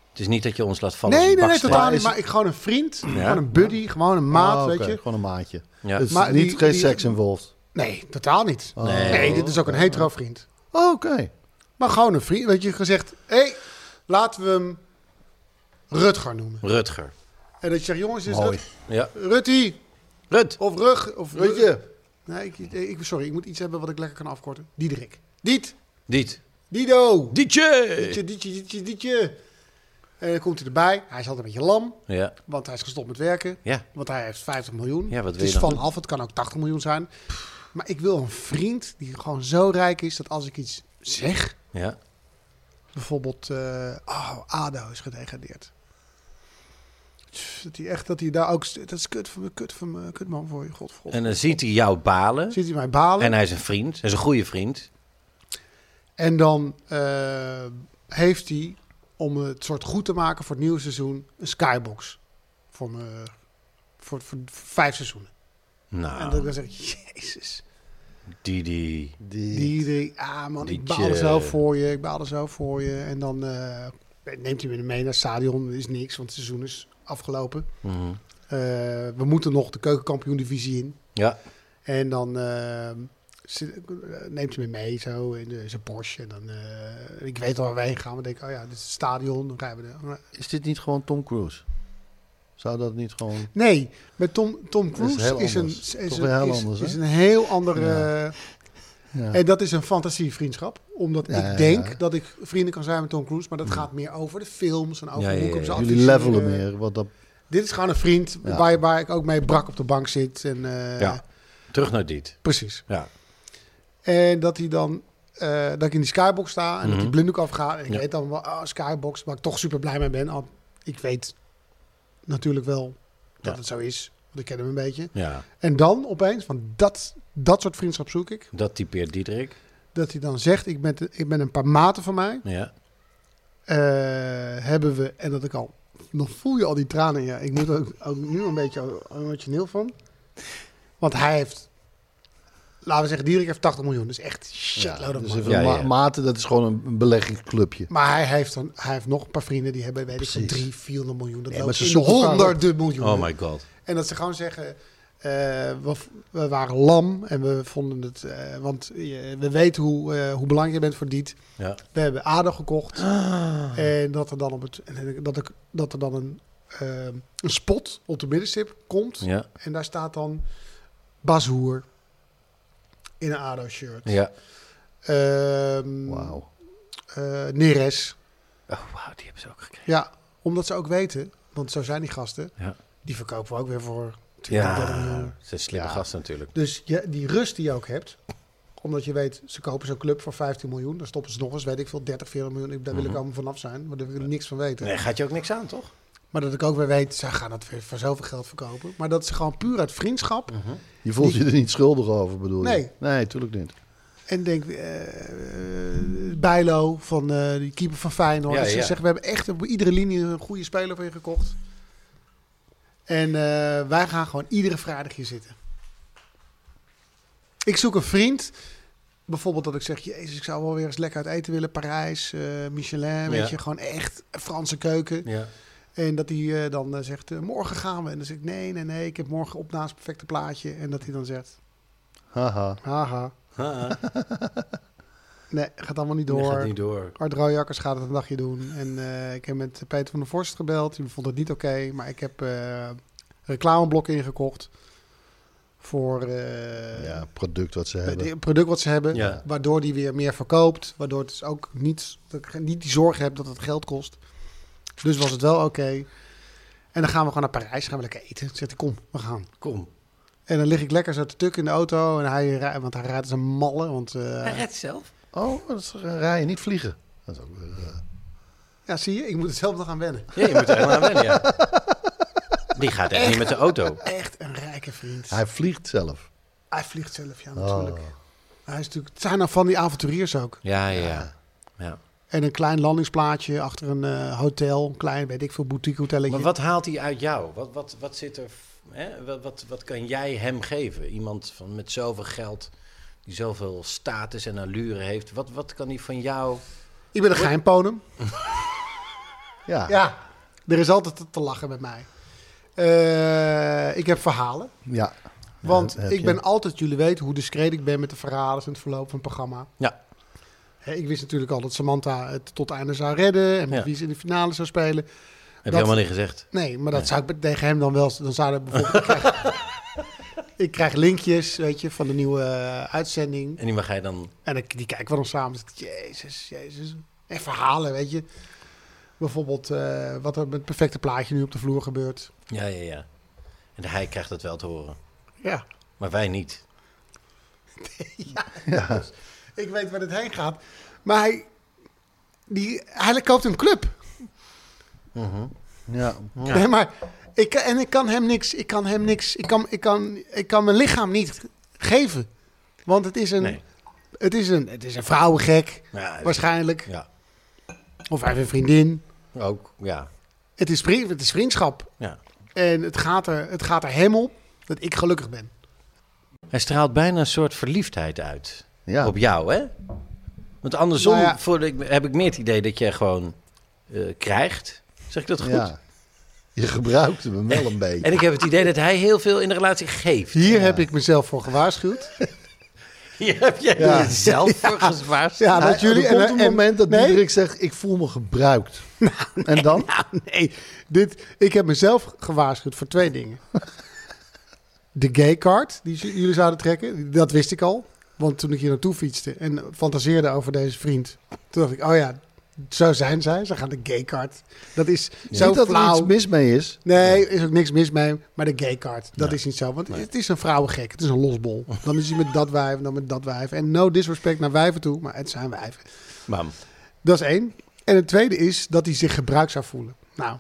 Het is niet dat je ons laat vallen. Nee, als nee, een nee, baksteen. totaal niet. Maar ik gewoon een vriend. Gewoon een buddy. Gewoon een maat, Ah, oké, weet je. Gewoon een maatje. Ja. Dus Maar niet die- geen die- seks involved. Nee, totaal niet. Nee, dit is ook een hetero vriend. Oh, oké. Maar gewoon een vriend. Dat je gezegd, hé, hey, laten we hem Rutger noemen. Rutger. En dat je zegt, jongens, dit is Mooi. Rut- Ja. Rutti. Rut. Of Rug. Of Weet je? Nee, ik, ik, sorry, ik moet iets hebben wat ik lekker kan afkorten. Diederik. Diet. Diet. Dido. Dietje. Dietje, Dietje, Dietje, Dietje. En dan komt hij erbij. Hij is altijd een beetje lam, Ja. want hij is gestopt met werken. Ja. Want hij heeft 50 miljoen. Ja, wat het wil is je dan vanaf, het kan ook 80 miljoen zijn. Maar ik wil een vriend die gewoon zo rijk is dat als ik iets zeg, Ja. bijvoorbeeld, eh, oh, ADO is gedegradeerd. Tss, Dat hij echt, dat hij daar ook, st- dat is kut van me, kut van me, kut man voor je, god, god. En dan ziet hij jou balen. Zit hij mij balen? En hij is een vriend. Hij is een goede vriend. En dan eh, heeft hij, om het soort goed te maken voor het nieuwe seizoen, een skybox. Voor, me, voor, voor vijf seizoenen. En dat ik Nou, dan zeg, jezus. die, die. Die, Die, die, ah man, ik Dietje. baal er zo voor je, ik baal er zo voor je. En dan eh, neemt hij me mee naar het stadion, er is niks, want het seizoen is afgelopen. Mhm. Eh, we moeten nog de keukenkampioen-divisie in. Ja. En dan eh, zit- neemt hij me mee zo in de- zijn Porsche. En dan, eh, ik weet al waar we heen gaan. We denken, oh ja, dit is het stadion. Dan rijden we er. Is dit niet gewoon Tom Cruise? Zou dat niet gewoon... Nee, met Tom, Tom Dat is Cruise heel is, een, anders. is, Toch een, weer heel is, anders, hè? is een heel andere... Ja. En dat is een fantasievriendschap. Omdat Ja, ja, ik denk ja. dat ik vrienden kan zijn met Tom Cruise. Maar dat gaat meer over de films en over Ja, ja, hoe ik ja, hem ja. zou Jullie adviseren. levelen meer. Wat dat... eh, Dit is gewoon een vriend Ja. waar, waar ik ook mee brak op de bank zit. En, eh, Ja. Terug naar dit. Precies. Ja. En dat hij dan... eh, dat ik in die skybox sta en dat Mhm. die blinddoek afgaat. En ik Ja. weet dan wel, ah, skybox, waar ik toch super blij mee ben. Al, ik weet natuurlijk wel dat Ja. het zo is. Want ik ken hem een beetje. Ja. En dan opeens, van dat, dat soort vriendschap zoek ik. Dat typeert Diederik. Dat hij dan zegt, ik ben, te- ik ben een paar maten van mij. Ja. eh, hebben we, en dat ik al, nog voel je al die tranen. Ja, ik moet er ook, ook nu een beetje emotioneel van. Want hij heeft, laten we zeggen, Dierik heeft 80 miljoen. Dus echt shitload of Dus money. even Ja, ja, ma- ja. Maarten, dat is gewoon een, een beleggingsclubje. Maar hij heeft, dan, hij heeft nog een paar vrienden die hebben, weet ik veel, Precies. 3, 400 miljoen. Dat Nee, loopt maar in ze de zoeken elkaar op. honderden miljoenen. Oh my god. En dat ze gewoon zeggen, eh, we, we waren lam en we vonden het... eh, want je- we weten hoe, eh, hoe belangrijk je bent voor Diet. Ja. We hebben ADO gekocht. Ah. En dat er dan, op het, en dat ik, dat er dan een, eh, een spot op de middenstip komt. Ja. En daar staat dan Bashoer in een ADO-shirt. Ja. Ehm, Wauw. eh, Neres. Oh wauw, die hebben ze ook gekregen. Ja, omdat ze ook weten, want zo zijn die gasten. Ja. Die verkopen we ook weer voor 20, 30 miljoen. Ja. Ze is slimme Ja. gast natuurlijk. Dus je, die rust die je ook hebt, omdat je weet, ze kopen zo'n club voor 15 miljoen, dan stoppen ze nog eens, weet ik veel, 30, 40 miljoen. Ik- Daar wil ik allemaal vanaf zijn, maar daar wil ik niks van weten. Mhm. Nee, gaat je ook niks aan, toch? Maar dat ik ook weer weet, zij gaan dat weer voor zoveel geld verkopen. Maar dat is gewoon puur uit vriendschap. Mhm. Je voelt je er niet schuldig over, bedoel Nee. je? Nee, tuurlijk niet. En denk, eh, eh, Bijlo van eh die keeper van Feyenoord. Ja, Dus ze ja. zeggen, we hebben echt op iedere linie een goede speler voor je gekocht. En eh, wij gaan gewoon iedere vrijdag hier zitten. Ik zoek een vriend. Bijvoorbeeld dat ik zeg, jezus, ik zou wel weer eens lekker uit eten willen. Parijs, eh, Michelin, weet Ja. je. Gewoon echt Franse keuken. Ja. En dat hij eh, dan eh, zegt, eh, morgen gaan we. En dan zeg ik, nee, nee, nee, ik heb morgen op naast het perfecte plaatje. En dat hij dan zegt, Haha. haha, nee, gaat allemaal niet Door. door. Gaat niet door. Art Rooijakkers gaat het een dagje doen. En eh, ik heb met Peter van der Vorst gebeld. Die vond het niet oké, maar ik heb eh reclameblok ingekocht voor eh, Ja, product wat ze het hebben. product wat ze hebben. Ja. Waardoor die weer meer verkoopt. Waardoor het dus ook niet, dat ik niet die zorg heb dat het geld kost. Dus was het wel oké. En dan gaan we gewoon naar Parijs. Gaan we lekker eten. Dan Zegt hij, kom, we gaan. Kom. En dan lig ik lekker zo te tuk in de auto. En hij, rijdt- want hij rijdt als een malle. Want, eh, redt zelf. Oh, dat is rijden, niet vliegen. Dat is ook weer... eh, ja, zie je, ik moet het zelf nog aan wennen. Ja, je moet er helemaal aan wennen, ja. Die gaat echt niet met de auto. Echt een rijke vriend. Hij vliegt zelf. Hij vliegt zelf, ja, Oh. natuurlijk. Hij is natuurlijk. Het zijn nou van die avonturiers ook. Ja, ja. ja. En een klein landingsplaatje achter een eh, hotel. Een klein, weet ik veel, boutique hotelletje. Maar wat haalt hij uit jou? Wat, wat, wat zit er... Hè? Wat, wat, wat kan jij hem geven? Iemand van, met zoveel geld, die zoveel status en allure heeft. Wat, wat kan hij van jou... Ik ben een geheimponum. Ja. Ja. Ja, er is altijd te- te lachen met mij. Eh, ik heb verhalen. Want heb ik je. ben altijd, jullie weten hoe discreet ik ben met de verhalen in het verloop van het programma. Ja. Hè, ik wist natuurlijk al dat Samantha het tot het einde zou redden. En met Ja. wie ze in de finale zou spelen. Heb Dat- je helemaal niet gezegd. Nee, maar dat zou ik tegen hem dan wel... Dan zou dat bijvoorbeeld... ik, krijg, ik krijg linkjes, weet je, van de nieuwe eh, uitzending. En die mag jij dan... En ik, die kijken we dan samen. Dus ik, Jezus, jezus. En verhalen, weet je. Bijvoorbeeld eh, wat er met het perfecte plaatje nu op de vloer gebeurt. Ja, ja, ja. En hij krijgt het wel te horen. Ja. Maar wij niet. Ik weet waar het heen gaat. Maar hij, die, hij koopt een club. Ja. Nee, maar ik, kan- en ik kan hem niks. Ik kan hem niks. Ik kan, ik kan, ik kan mijn lichaam niet geven. Want het is een, Nee. het is een, het is een vrouwengek. Ja, het- waarschijnlijk. Ja, Of hij heeft een vriendin. ook. Ja. Het is, vri- het is vriendschap. ja. En het gaat, er, het gaat er hem op dat ik gelukkig ben. Hij straalt bijna een soort verliefdheid uit. Ja. Op jou, hè? Want andersom Nou ja. voor de- heb ik meer het idee dat jij gewoon eh, krijgt. Zeg ik dat goed? Ja. Je gebruikte hem wel een beetje. En ik heb het idee dat hij heel veel in de relatie geeft. Hier heb ik mezelf voor gewaarschuwd. Hier heb jij Ja. jezelf voor gezwaard. Ja, Hij- dat jullie. er komt en- een en- moment dat nee, Nou, Diederik zegt, ik voel me gebruikt. en dan? Nee, dit, ik heb mezelf gewaarschuwd voor twee dingen. De gay card die j- jullie zouden trekken, dat wist ik al. Want toen ik hier naartoe fietste en fantaseerde over deze vriend, toen dacht ik, oh ja, zo zijn zij. Ze gaan de gay card. Dat is zo Niet dat er flauw. iets mis mee is. Nee, er is ook niks mis mee. Maar de gay card, dat is niet zo. Want het is een vrouwengek. Het is een losbol. Dan is hij met dat wijf en dan met dat wijf. En no disrespect naar wijven toe, maar het zijn wijven. Mam. Dat is één. En het tweede is dat hij zich gebruikt zou voelen. Nou,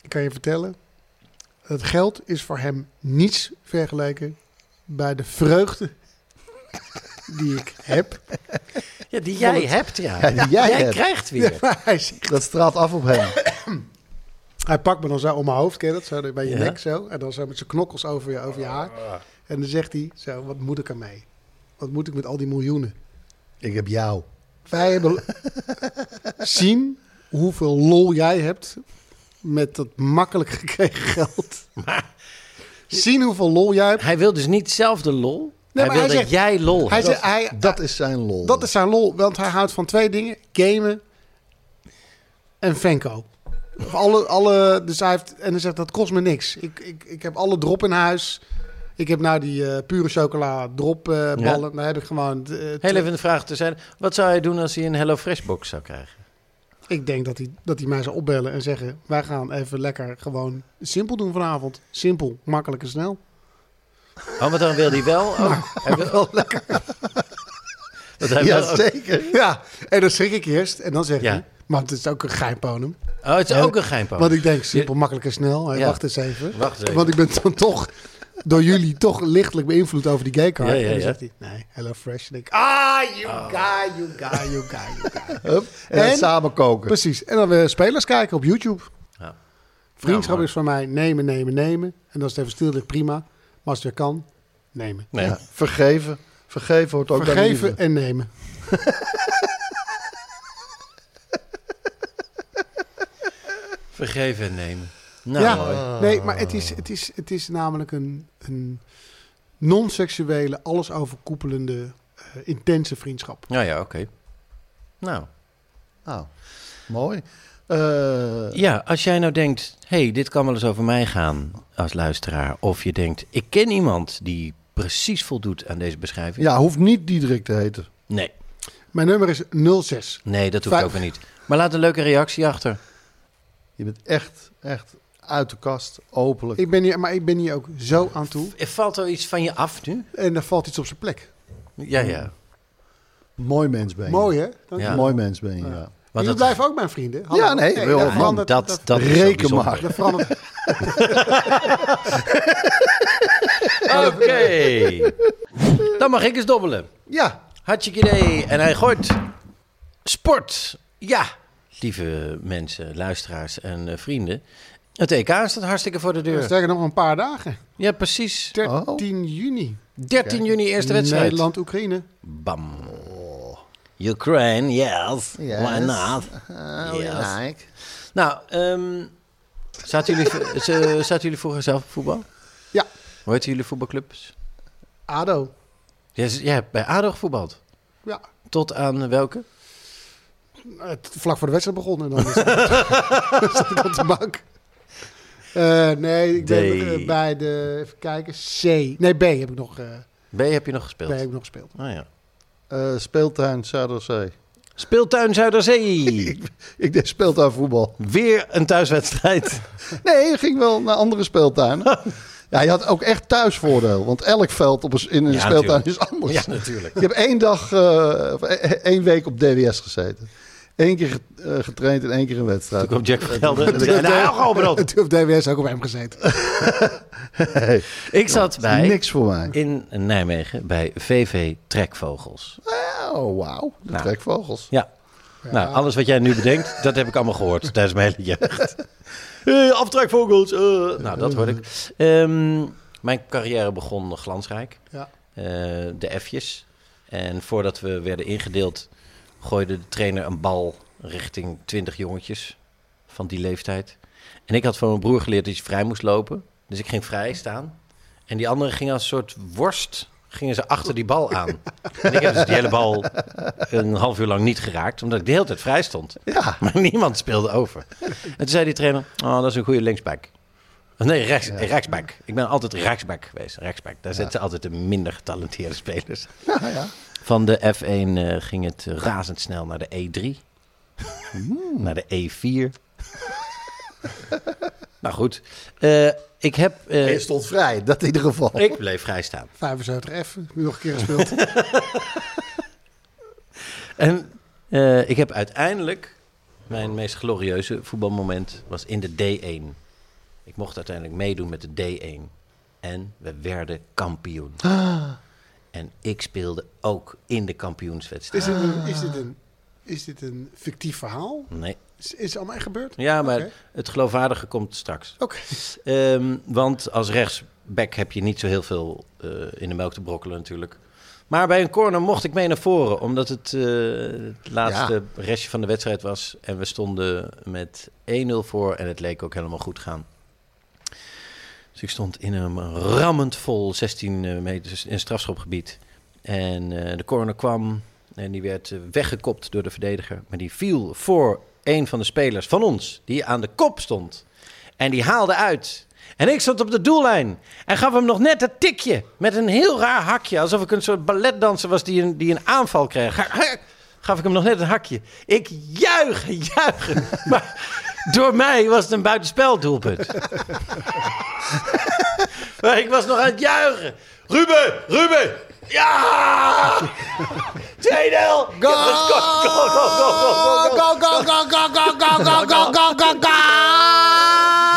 ik kan je vertellen. Het geld is voor hem niets vergeleken bij de vreugde die ik heb. Ja, die jij hebt, ja. Ja, die jij jij hebt. krijgt weer. Maar hij, zegt- Dat straalt af op hem. hij pakt me dan zo om mijn hoofd, ken je dat? Zo bij je Ja. nek zo. En dan zo met zijn knokkels over je, over je haar. Ah. En dan zegt hij zo, wat moet ik ermee? Wat moet ik met al die miljoenen? Ik heb jou. Wij hebben zien hoeveel lol jij hebt met dat makkelijk gekregen geld. zien hoeveel lol jij hebt. Hij wil dus niet zelf de lol. hij maar wil hij dat zegt- jij lol Hij hebt. zegt, hij, Oh, Dat is zijn lol. dat is zijn lol, want hij houdt van twee dingen: gamen en Venko. Of Alle, alle, dus hij heeft, en hij zegt dat kost me niks. Ik, ik, ik heb alle drop in huis. Ik heb nou die eh, pure chocola drop eh, ballen. Daar heb ik gewoon. eh, Heel even een vraag te zijn. Wat zou hij doen als hij een Hello Fresh box zou krijgen? Ik denk dat hij, dat hij mij zou opbellen en zeggen: Wij gaan even lekker gewoon simpel doen vanavond. Simpel, makkelijk en snel. Oh, maar dan wil hij wel. Oh, hij wil wel lekker. Dat hij wil Ja, ook- zeker. Ja, en dan schrik ik eerst. En dan zeg Ja. hij: Maar het is ook een geinponum. Oh, het is ook een geinpoot. Want ik denk: simpel, makkelijk en snel. Hey, Ja. Wacht eens even. Wacht eens even. Want ik ben dan toch door jullie toch lichtelijk beïnvloed over die gaycard. Ja, ja, en dan ja. zegt hij: Nee, hello fresh. En ik: Ah, you guy, you guy, you guy, you guy. Hup. En, dan En- samen koken. Precies. En dan weer spelers kijken op YouTube. Ja. Vriendschap Ja, maar- is voor mij nemen, nemen, nemen. En als het even stil ligt, prima. Maar als het weer kan, nemen. Nee. Ja, vergeven. Vergeven hoort ook bij liefde. Vergeven en nemen. Vergeven en nemen. Nou, ja, mooi. nee, maar het is, het is, het is namelijk een, een non-seksuele, alles overkoepelende, eh, intense vriendschap. Ja, ja, oké. Nou, Nou, mooi. Eh, ja, als jij nou denkt, hey, dit kan wel eens over mij gaan als luisteraar. Of je denkt, ik ken iemand die precies voldoet aan deze beschrijving. ja, hoeft niet Diederik te heten. Nee, Mijn nummer is 06. nee, dat hoeft Vijf- ook weer niet. Maar laat een leuke reactie achter. Je bent echt, echt uit de kast, openlijk. Ik ben hier, maar ik ben hier ook zo aan toe. Valt er iets van je af nu? En er valt iets op zijn plek. Ja, ja. Mooi mens ben je. Mooi, hè? Dank Ja. je. Mooi mens ben je, ja. Want Jullie dat- Ah, blijven ook mijn vrienden. Hallo. Ja, nee, joh, dat man, verandert- dat, dat, is zo Reken bijzonder. maar. dat verandert. Oké. Dan mag ik eens dobbelen. Ja, Hartstikke idee. En hij gooit sport. Ja, lieve mensen, luisteraars en eh, vrienden. Het EK staat hartstikke voor de deur. Sterker nog, een paar dagen. Ja, precies. 13 juni. 13 juni Oh. eerste wedstrijd. Nederland-Oekraïne. Bam. Ukraine, yes. Oh, Yes. Why not? Oh, yes. Nou, ehm zaten, jullie, v- ze- zaten jullie vroeger zelf op voetbal? Ja. Hoe heette jullie voetbalclubs? ADO. Jij, z- jij hebt bij ADO gevoetbald. Ja. Tot aan welke? Het, vlak voor de wedstrijd begonnen. En dan zat ik- zat ik op de bank. Eh, nee, ik ben D. eh, bij de... Even kijken. C. Nee, B heb ik nog, eh, B heb je nog B gespeeld. heb ik nog gespeeld. Oh ja. Eh, speeltuin Zuiderzee. Speeltuin Zuiderzee. Ik deed speeltuin voetbal. Weer een thuiswedstrijd. Nee, ik ging wel naar andere speeltuinen. Ja, je had ook echt thuisvoordeel. Want elk veld op een, in een Ja, speeltuin natuurlijk. is anders. natuurlijk. Ik heb één dag, eh, of e- e- één week op DWS gezeten. Eén keer get- eh, getraind en één keer een wedstrijd. Toen kwam Jack Velden. en zei, Nou, gewoon brood. Toen heeft DWS ook op hem gezeten. Ik zat bij, Niks voor mij. in Nijmegen bij VV Trekvogels. Oh, wauw. De Nou. trekvogels. Ja. Nou, alles wat jij nu bedenkt, dat heb ik allemaal gehoord tijdens mijn hele jeugd. Eh, aftrekvogels. eh. Nou, dat hoorde ik. Ehm, mijn carrière begon glansrijk. Ja. Eh, de F'jes. En voordat we werden ingedeeld, gooide de trainer een bal richting 20 jongetjes van die leeftijd. En ik had van mijn broer geleerd dat je vrij moest lopen. Dus ik ging vrij staan. En die anderen gingen als een soort worst gingen ze achter die bal aan. En ik heb dus die hele bal een half uur lang niet geraakt, omdat ik de hele tijd vrij stond. Ja. Maar niemand speelde over. En toen zei die trainer, oh, dat is een goede linksback. Of nee, rechts, rechtsback. Ik ben altijd rechtsback geweest. Rechtsback. Daar zitten altijd de minder getalenteerde spelers. Ja, ja. Van de F1 eh, ging het razendsnel naar de E3. Hmm. Naar de E4. nou goed. Eh, ik heb... eh, Je stond vrij, dat in ieder geval. ik bleef vrij staan. 75 F, nu nog een keer gespeeld. En eh, ik heb uiteindelijk... Mijn meest glorieuze voetbalmoment was in de D1. Ik mocht uiteindelijk meedoen met de D1. En we werden kampioen. Ah. En ik speelde ook in de kampioenswedstrijd. Is dit een, is dit een, is dit een fictief verhaal? Nee. Is, is het allemaal echt gebeurd? Ja, maar Oké. het geloofwaardige komt straks. Oké. Ehm, want als rechtsback heb je niet zo heel veel eh, in de melk te brokkelen natuurlijk. Maar bij een corner mocht ik mee naar voren, omdat het eh, het laatste restje van de wedstrijd was. En we stonden met 1-0 voor en het leek ook helemaal goed gaan. Dus ik stond in een rammend vol 16 meter dus in strafschopgebied. En eh, de corner kwam en die werd eh, weggekopt door de verdediger. Maar die viel voor een van de spelers van ons, die aan de kop stond. En die haalde uit. En ik stond op de doellijn en gaf hem nog net dat tikje met een heel raar hakje. Alsof ik een soort balletdanser was die een, die een aanval kreeg. Ha- ha- Gaf ik hem nog net een hakje. Ik juichen, juichen. Maar door mij was het een buitenspeldoelpunt. Maar ik was nog aan het juichen. Ruben, Ruben. Ja! 2-0. Ik heb gescoord. Goal, goal, goal, goal, goal, goal. go, go, go, go, go, go, go, go, go, go, go.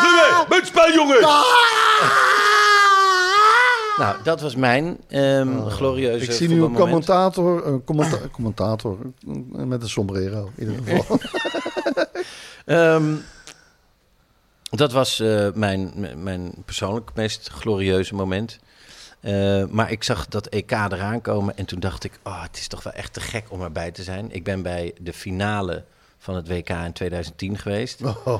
Ruben, met spel, jongen. Nou, dat was mijn ehm glorieuze Ik zie nu een voetbalmoment. commentator, een commenta- commentator eh, met een sombrero in ieder geval. Ehm, dat was eh, mijn, m- mijn persoonlijk meest glorieuze moment. Eh, maar ik zag dat EK eraan komen en toen dacht ik, oh, het is toch wel echt te gek om erbij te zijn. Ik ben bij de finale van het WK in 2010 geweest. Oh,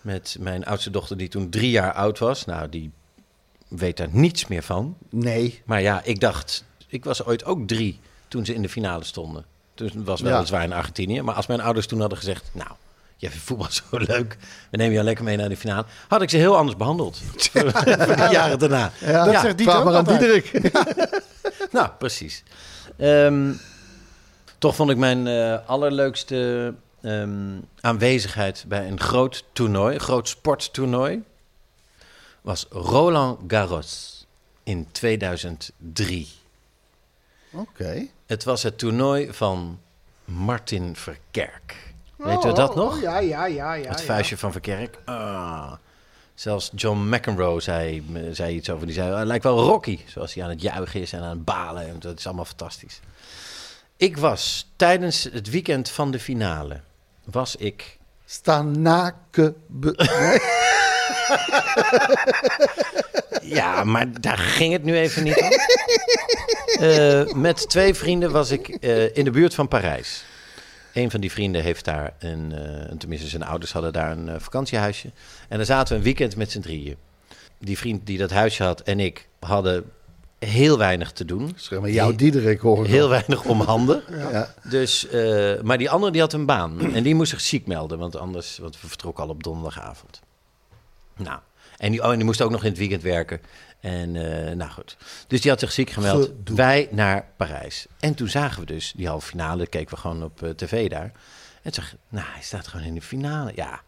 Met mijn oudste dochter die toen drie jaar oud was. Nou, die weet daar niets meer van. nee. Maar ja, ik dacht, ik was ooit ook drie toen ze in de finale stonden. Toen was Ja. weliswaar in Argentinië. Maar als mijn ouders toen hadden gezegd, nou, jij vindt voetbal zo leuk. We nemen jou lekker mee naar de finale. Had ik ze heel anders behandeld. Voor die jaren daarna. Ja, Ja, zegt die vraag ook maar aan altijd. Diederik. Nou, precies. Ehm, toch vond ik mijn eh, allerleukste ehm, aanwezigheid bij een groot toernooi, een groot sporttoernooi, was Roland Garros in 2003. Oké. Het was het toernooi van Martin Verkerk. Weet u dat Oh, nog? oh, ja, ja, ja. ja het ja. vuistje van Verkerk. Ah. Zelfs John McEnroe zei, zei iets over. Die zei, hij lijkt wel Rocky. Zoals hij aan het juichen is en aan het balen. En dat is allemaal fantastisch. Ik was tijdens het weekend van de finale... was ik Stanake... be- Nee, Ja, maar daar ging het nu even niet om. Eh, met twee vrienden was ik eh, in de buurt van Parijs. Een van die vrienden heeft daar een, eh, tenminste zijn ouders hadden daar een eh, vakantiehuisje. En daar zaten we een weekend met z'n drieën. Die vriend die dat huisje had en ik hadden heel weinig te doen. Zeg maar, jouw Diederik hoor ik Heel al. weinig om handen. Ja. Dus, eh, maar die andere die had een baan. En die moest zich ziek melden, want anders, want we vertrokken al op donderdagavond. Nou, en die, oh, en die moest ook nog in het weekend werken. En eh, nou goed. Dus die had zich ziek gemeld. Gedoe. Wij naar Parijs. En toen zagen we dus die halve finale. Keken we gewoon op eh, tv daar. En zag, nou, hij staat gewoon in de finale. Ja,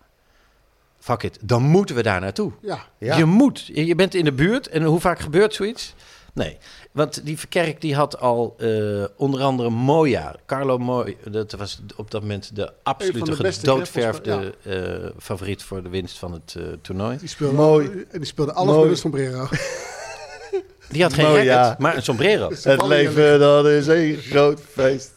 fuck it. Dan moeten we daar naartoe. Ja. Ja. Je moet. Je je bent in de buurt. En hoe vaak gebeurt zoiets? Nee. Want die Verkerk die had al eh, onder andere Moya. Carlo Moya. Dat was op dat moment de absolute de beste gedoodverfde eh, favoriet voor de winst van het eh, toernooi. Die speelde, Mooi. En die speelde alles Mooi. met een sombrero. Die had geen Moya. racket, maar een sombrero. Het leven dat is een groot feest.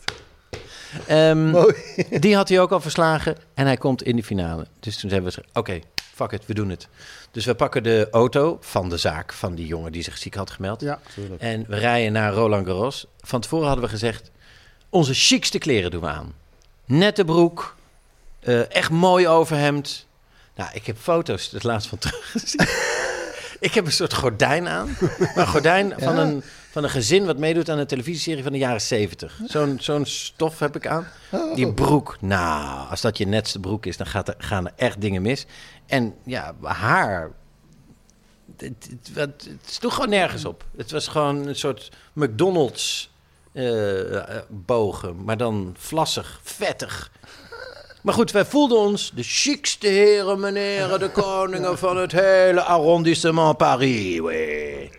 Ehm, Mooi. die had hij ook al verslagen en hij komt in de finale. Dus toen hebben we gezegd, oké, fuck it, we doen het. Dus we pakken de auto van de zaak van die jongen die zich ziek had gemeld. Ja. En we rijden naar Roland Garros. Van tevoren hadden we gezegd, onze chicste kleren doen we aan. Nette broek, eh, echt mooi overhemd. Nou, ik heb foto's het laatst van teruggezien. ik heb een soort gordijn aan. Maar een gordijn van, een, van een gezin wat meedoet aan een televisieserie van de jaren zeventig. Zo'n zo'n stof heb ik aan. Die broek, nou, als dat je netste broek is, dan gaat er, gaan er echt dingen mis. En ja, haar... Het, het, het, het sloeg gewoon nergens op. Het was gewoon een soort McDonald's eh, eh, bogen, maar dan vlassig, vettig. Maar goed, wij voelden ons de chicste heren, meneren, de koningen van het hele arrondissement Paris. oui.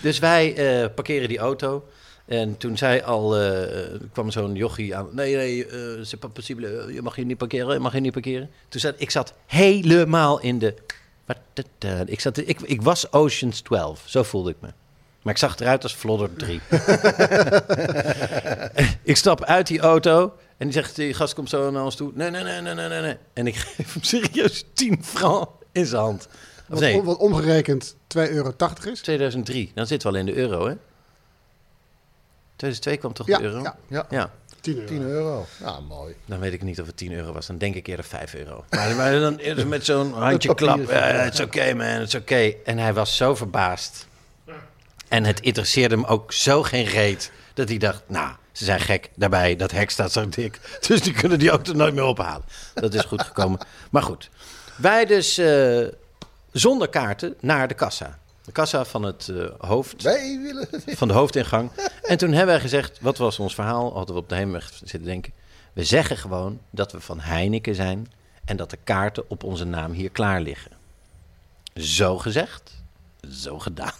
Dus wij eh, parkeren die auto. En toen zei al, eh, eh, kwam zo'n jochie aan. Nee, nee, eh, c'est pas possible. Eh, Je mag hier niet parkeren, je mag hier niet parkeren. Toen zat ik zat helemaal in de... Ik, zat, ik, ik was Oceans 12, zo voelde ik me. Maar ik zag eruit als Flodder 3. ik stap uit die auto en die zegt, die gast komt zo naar ons toe. Nee, nee, nee, nee, nee, nee, nee. En ik geef hem serieus 10 francs in zijn hand. Of Wat, nee, om- wat omgerekend 2,80 euro is. 2003. Dan zitten we al in de euro, hè? 2002 kwam toch Ja, de euro? ja, Ja, Ja. 10 euro. 10 euro. Ja, mooi. Dan weet ik niet of het 10 euro was. Dan denk ik eerder 5 euro. Maar, maar dan eerder met zo'n handje klap. papier is- Het is oké, man. Het is oké. En hij was zo verbaasd. En het interesseerde hem ook zo geen reet. Dat hij dacht, nou, ze zijn gek. Daarbij, dat hek staat zo dik. Dus die kunnen die auto nooit meer ophalen. Dat is goed gekomen. Maar goed. Wij dus eh, zonder kaarten naar de kassa. De kassa van het eh, hoofd Wij willen... van de hoofdingang. En toen hebben wij gezegd, wat was ons verhaal? Hadden we op de heenweg zitten denken. We zeggen gewoon dat we van Heineken zijn en dat de kaarten op onze naam hier klaar liggen. Zo gezegd, zo gedaan.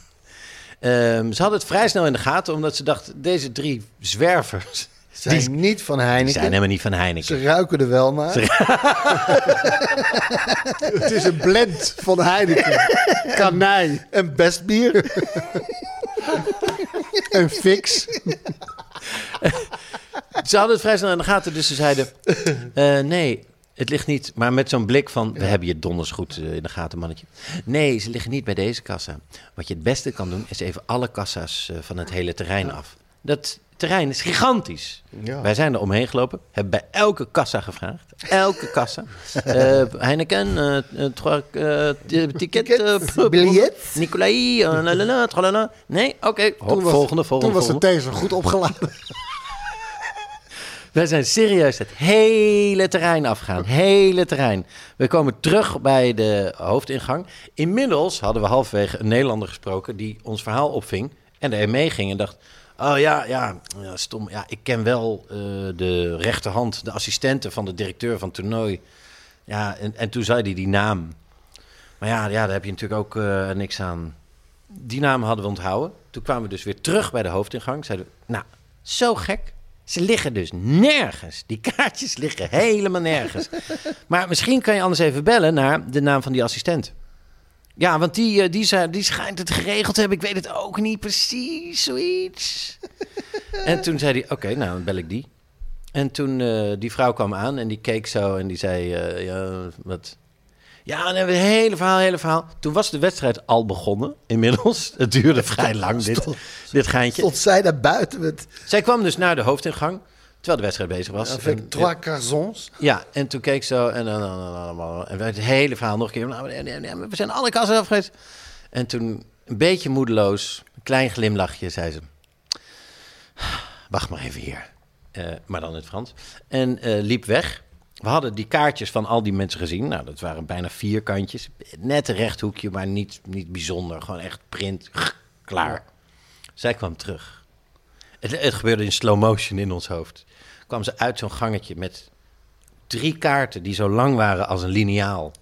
Ehm, ze hadden het vrij snel in de gaten, omdat ze dachten, deze drie zwervers Zijn niet van Heineken. zijn helemaal niet van Ze Heineken. ruiken er wel naar. Het is een blend van Heineken, Kanij En best bier. en Fix. Ze hadden het vrij snel in de gaten, dus ze zeiden, eh, nee, het ligt niet. Maar met zo'n blik van, we hebben je donders goed eh, in de gaten, mannetje. Nee, ze liggen niet bij deze kassa. Wat je het beste kan doen, is even alle kassa's eh, van het hele terrein af. Dat terrein is gigantisch. Ja. Wij zijn er omheen gelopen, hebben bij elke kassa gevraagd. Elke kassa. Eh, Heineken, eh, eh, trois, eh, t- ticket, eh, p- biljet. Nicolai, eh, la, la, la, tralala. Nee, oké, hop, Toen was- volgende, volgende, Toen was de volgende. taser goed opgeladen. Wij zijn serieus het hele terrein afgegaan. Hele terrein. We komen terug bij de hoofdingang. Inmiddels hadden we halverwege een Nederlander gesproken die ons verhaal opving en er mee ging en dacht. Oh ja, ja, ja, stom. Ja, ik ken wel eh, de rechterhand, de assistente van de directeur van het toernooi. Ja, en, en toen zei hij die naam. Maar ja, ja daar heb je natuurlijk ook eh, niks aan. Die naam hadden we onthouden. Toen kwamen we dus weer terug bij de hoofdingang. Zeiden we, nou, zo gek. Ze liggen dus nergens. Die kaartjes liggen helemaal nergens. maar misschien kan je anders even bellen naar de naam van die assistent. Ja, want die, eh, die, zei- die schijnt het geregeld te hebben. Ik weet het ook niet precies, zoiets. en toen zei hij, oké, nou, dan bel ik die. En toen eh, die vrouw kwam aan en die keek zo en die zei, eh, ja, wat... Ja, en hebben we het hele verhaal, hele verhaal. Toen was de wedstrijd al begonnen, inmiddels. Het duurde vrij lang, dit, dit geintje. Tot zij daar buiten met Zij kwam dus naar de hoofdingang, terwijl de wedstrijd bezig was. En- avec trois Oh, carzons. ja, en toen keek zo en dan dan- dan- dan- dan- en het hele verhaal nog een keer. Nou, nee, nee, nee, We zijn alle kassen afgewezen. En toen een beetje moedeloos, een klein glimlachje, zei ze: Wacht maar even hier. Eh, maar dan in het Frans. En eh, liep weg. We hadden die kaartjes van al die mensen gezien. Nou, dat waren bijna vierkantjes. Net een rechthoekje, maar niet, niet bijzonder. Gewoon echt print, klaar. Zij kwam terug. Het, het gebeurde in slow motion in ons hoofd. Kwam ze uit zo'n gangetje met drie kaarten die zo lang waren als een liniaal.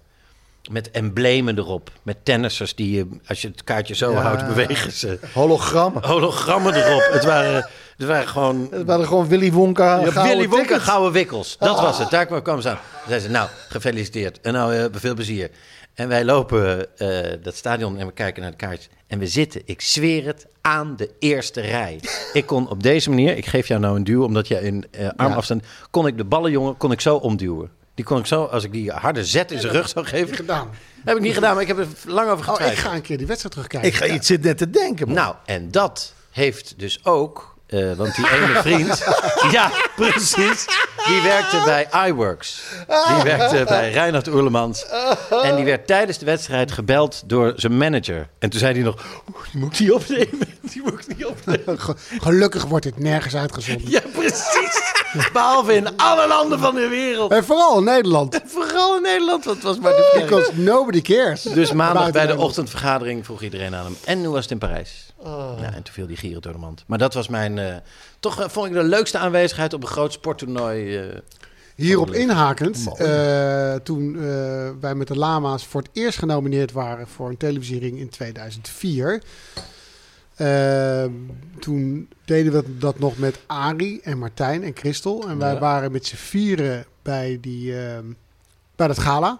Met emblemen erop. Met tennissers die, je, als je het kaartje zo houdt, bewegen ze. Hologrammen. Hologrammen erop. Het waren, het waren gewoon Het waren gewoon Willy Wonka. ja, gouden Willy Wonka, tickets. gouden wikkels. Dat Ah. was het. Daar kwam, kwam ze aan. Toen zei ze, nou, gefeliciteerd. En nou, eh, veel plezier. En wij lopen eh, dat stadion en we kijken naar de kaart. En we zitten, ik zweer het, aan de eerste rij. Ik kon op deze manier, ik geef jou nou een duw, omdat jij in eh, armafstand... kon ik de ballenjongen kon ik zo omduwen. Die kon ik zo, als ik die harde zet in zijn rug zou geven... gedaan. Heb ik niet gedaan, maar ik heb er lang over Oh, getwijfeld. ik ga een keer die wedstrijd terugkijken. Ik, ga, ik zit net te denken. man. Nou, en dat heeft dus ook. eh, want die ene vriend. ja, precies. Die werkte bij iWorks. Die werkte bij Reinhard Oerlemans. En die werd tijdens de wedstrijd gebeld door zijn manager. En toen zei hij nog: "Oeh, die moet ik niet opnemen. Die moet ik niet opnemen. Ge- Gelukkig wordt dit nergens uitgezonden. Ja, precies. Behalve in alle landen van de Eh. wereld. En vooral in Nederland. Vooral in Nederland, want het was maar de plek. Because nobody cares. Dus maandag Buiten bij de Nederland. ochtendvergadering vroeg iedereen aan hem. En hoe was het in Parijs? Oh. Nou, en toen viel die gierend door de mand. Maar dat was mijn... eh, toch eh, vond ik de leukste aanwezigheid op een groot sporttoernooi. eh. Hierop inhakend, eh, toen eh, wij met de Lama's voor het eerst genomineerd waren voor een televisiering in 2004. eh, toen deden we dat nog met Ari en Martijn en Christel. En wij Ja. waren met z'n vieren bij, die, eh, bij dat gala.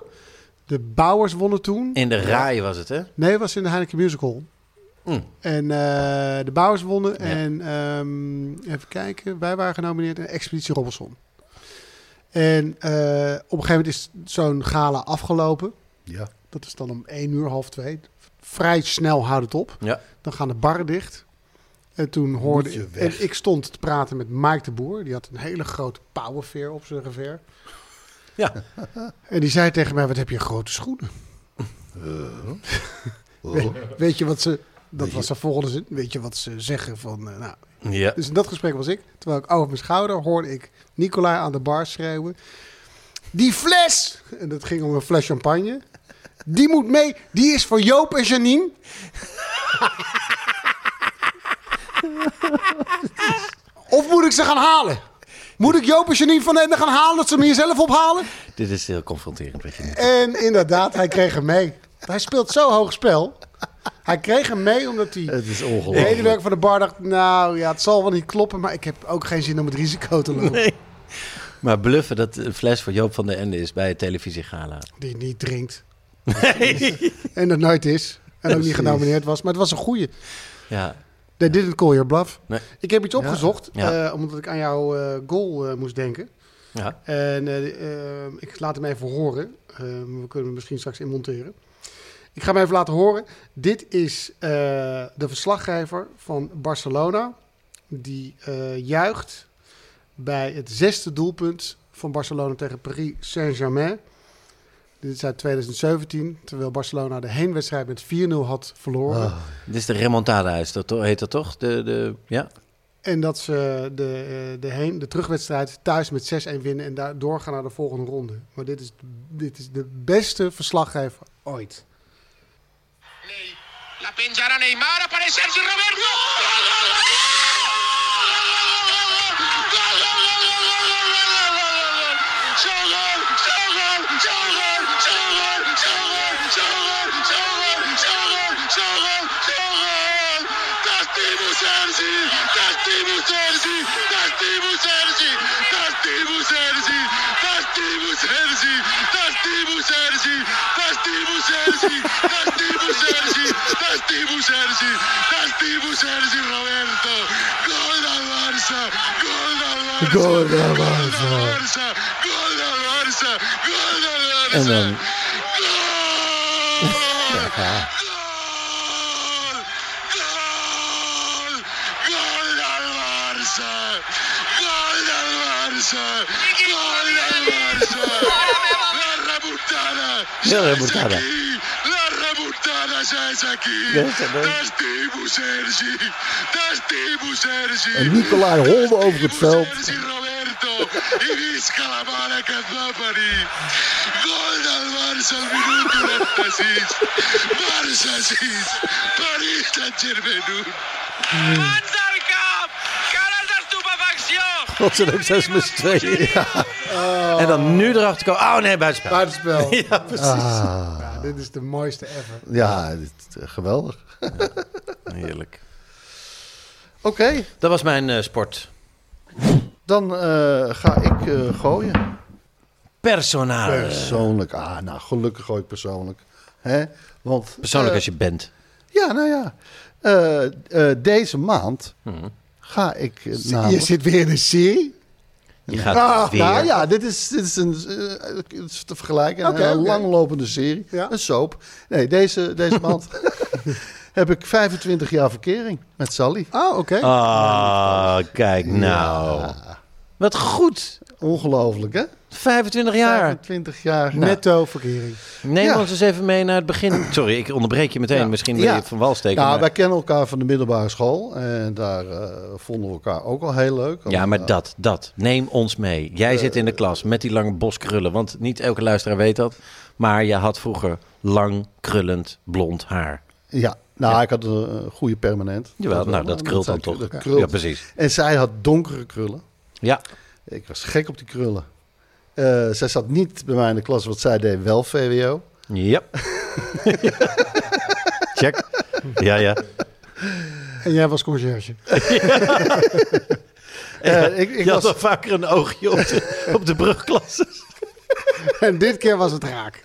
De Bouwers wonnen toen. in de raai was het, hè? Nee, het was in de Heineken Musical. Mm. En eh, de Bouwers wonnen. En ehm, even kijken, wij waren genomineerd in Expeditie Robinson. En eh, op een gegeven moment is zo'n gala afgelopen. Ja. Dat is dan om 1 uur, half 2. Vrij snel houdt het op. Ja. Dan gaan de barren dicht. En toen hoorde Moet je ik... weg. En ik stond te praten met Mike de Boer. Die had een hele grote pauwenveer op zijn geveer. Ja. En die zei tegen mij, wat heb je grote schoenen. Eh, Oh. Weet je wat ze... Dat was de volgende zin. Weet je wat ze zeggen van... eh, nou, ja. dus in dat gesprek was ik. Terwijl ik over mijn schouder hoorde ik Nicolai aan de bar schreeuwen. Die fles! En dat ging om een fles champagne. Die moet mee. Die is voor Joop en Janine. of moet ik ze gaan halen? Moet ik Joop en Janine van Ende gaan halen? Dat ze hem hier zelf ophalen? Dit is heel confronterend. Wat je nu- En inderdaad, hij kreeg hem mee. Hij speelt zo hoog spel. Hij kreeg hem mee omdat hij... Het is De ongelooflijk. medewerker van de bar dacht, nou ja, het zal wel niet kloppen, maar ik heb ook geen zin om het risico te lopen. Maar bluffen dat een fles voor Joop van der Ende is bij het televisiegala. Die niet drinkt. en dat nooit is. En ook niet genomineerd was. Maar het was een goeie. Ja. They didn't call your bluff. Nee. Ik heb iets opgezocht, Ja. eh, omdat ik aan jouw eh, goal eh, moest denken. ja. En eh, eh, ik laat hem even horen. Eh, we kunnen hem misschien straks inmonteren. Ik ga hem even laten horen. Dit is eh, de verslaggever van Barcelona. Die eh, juicht bij het zesde doelpunt van Barcelona tegen Paris Saint-Germain. Dit is uit 2017, terwijl Barcelona de heenwedstrijd met 4-0 had verloren. Dit is de remontada, is dat, to- heet dat toch? De, de, ja. En dat ze de, eh, de, heen, de terugwedstrijd thuis met 6-1 winnen en daardoor gaan naar de volgende ronde. Maar dit is, dit is de beste verslaggever ooit. Ney. La pinchará Neymar, aparece Sergio Roberto. Gol del Barça. En dan... Ja, dat moet daar. En Nicolai holde over het veld. Roberto. Roberto. Iris Calamara Kazapari. Gol del Barça al minuut 96. Barça 6. Paris Saint-Germain 1. Mans al camp! Cares d'estupefacció! Rotterdam 6 plus 2. En dan nu erachter komen. Oh nee, buitenspel. Buitenspel. Ah. Ja, precies. Ja, dit is de mooiste ever. Ja, dit, eh, geweldig. Heerlijk. Oké, Dat was mijn eh, sport. dan eh, ga ik eh, gooien. Personaal. Persoonlijk. Ah, nou, gelukkig gooi ik persoonlijk. Hè? Want, Persoonlijk eh, als je bent. Ja, nou ja. Eh, eh, deze maand Hmm. ga ik eh, Je namelijk- zit weer in een serie. Je gaat Ah, weer. nou ja, dit is, dit is een, eh, het is te vergelijken. Een Oké, heel oké. langlopende serie. Ja. Een soap. Nee, deze, deze maand heb ik 25 jaar verkering met Sally. Oh, oké. Ah, kijk nou. Wat goed. Ongelooflijk, hè? 25 jaar. 25 jaar. Netto verkering. Neem Ja. ons eens even mee naar het begin. Sorry, ik onderbreek je meteen. Misschien wil je Ja. het van wal steken. Ja, maar- wij kennen elkaar van de middelbare school. En daar eh, vonden we elkaar ook al heel leuk. Ja, maar Eh, dat, dat. Neem ons mee. Jij zit in de klas met die lange boskrullen. Want niet elke luisteraar weet dat. Maar je had vroeger lang, krullend, blond haar. Ja, nou, ik had een eh, goede permanent. Jawel, nou, wel, dat maar krult dan zijn- toch. dat krult. Ja, precies. En zij had donkere krullen. Ja, Ik was gek op die krullen. Eh, zij zat niet bij mij in de klas, want zij deed wel VWO. ja. Check. Ja, ja. En jij was conciërge. Eh, ik, ik Je had was, al vaker een oogje op de, op de brugklasse. En dit keer was het raak.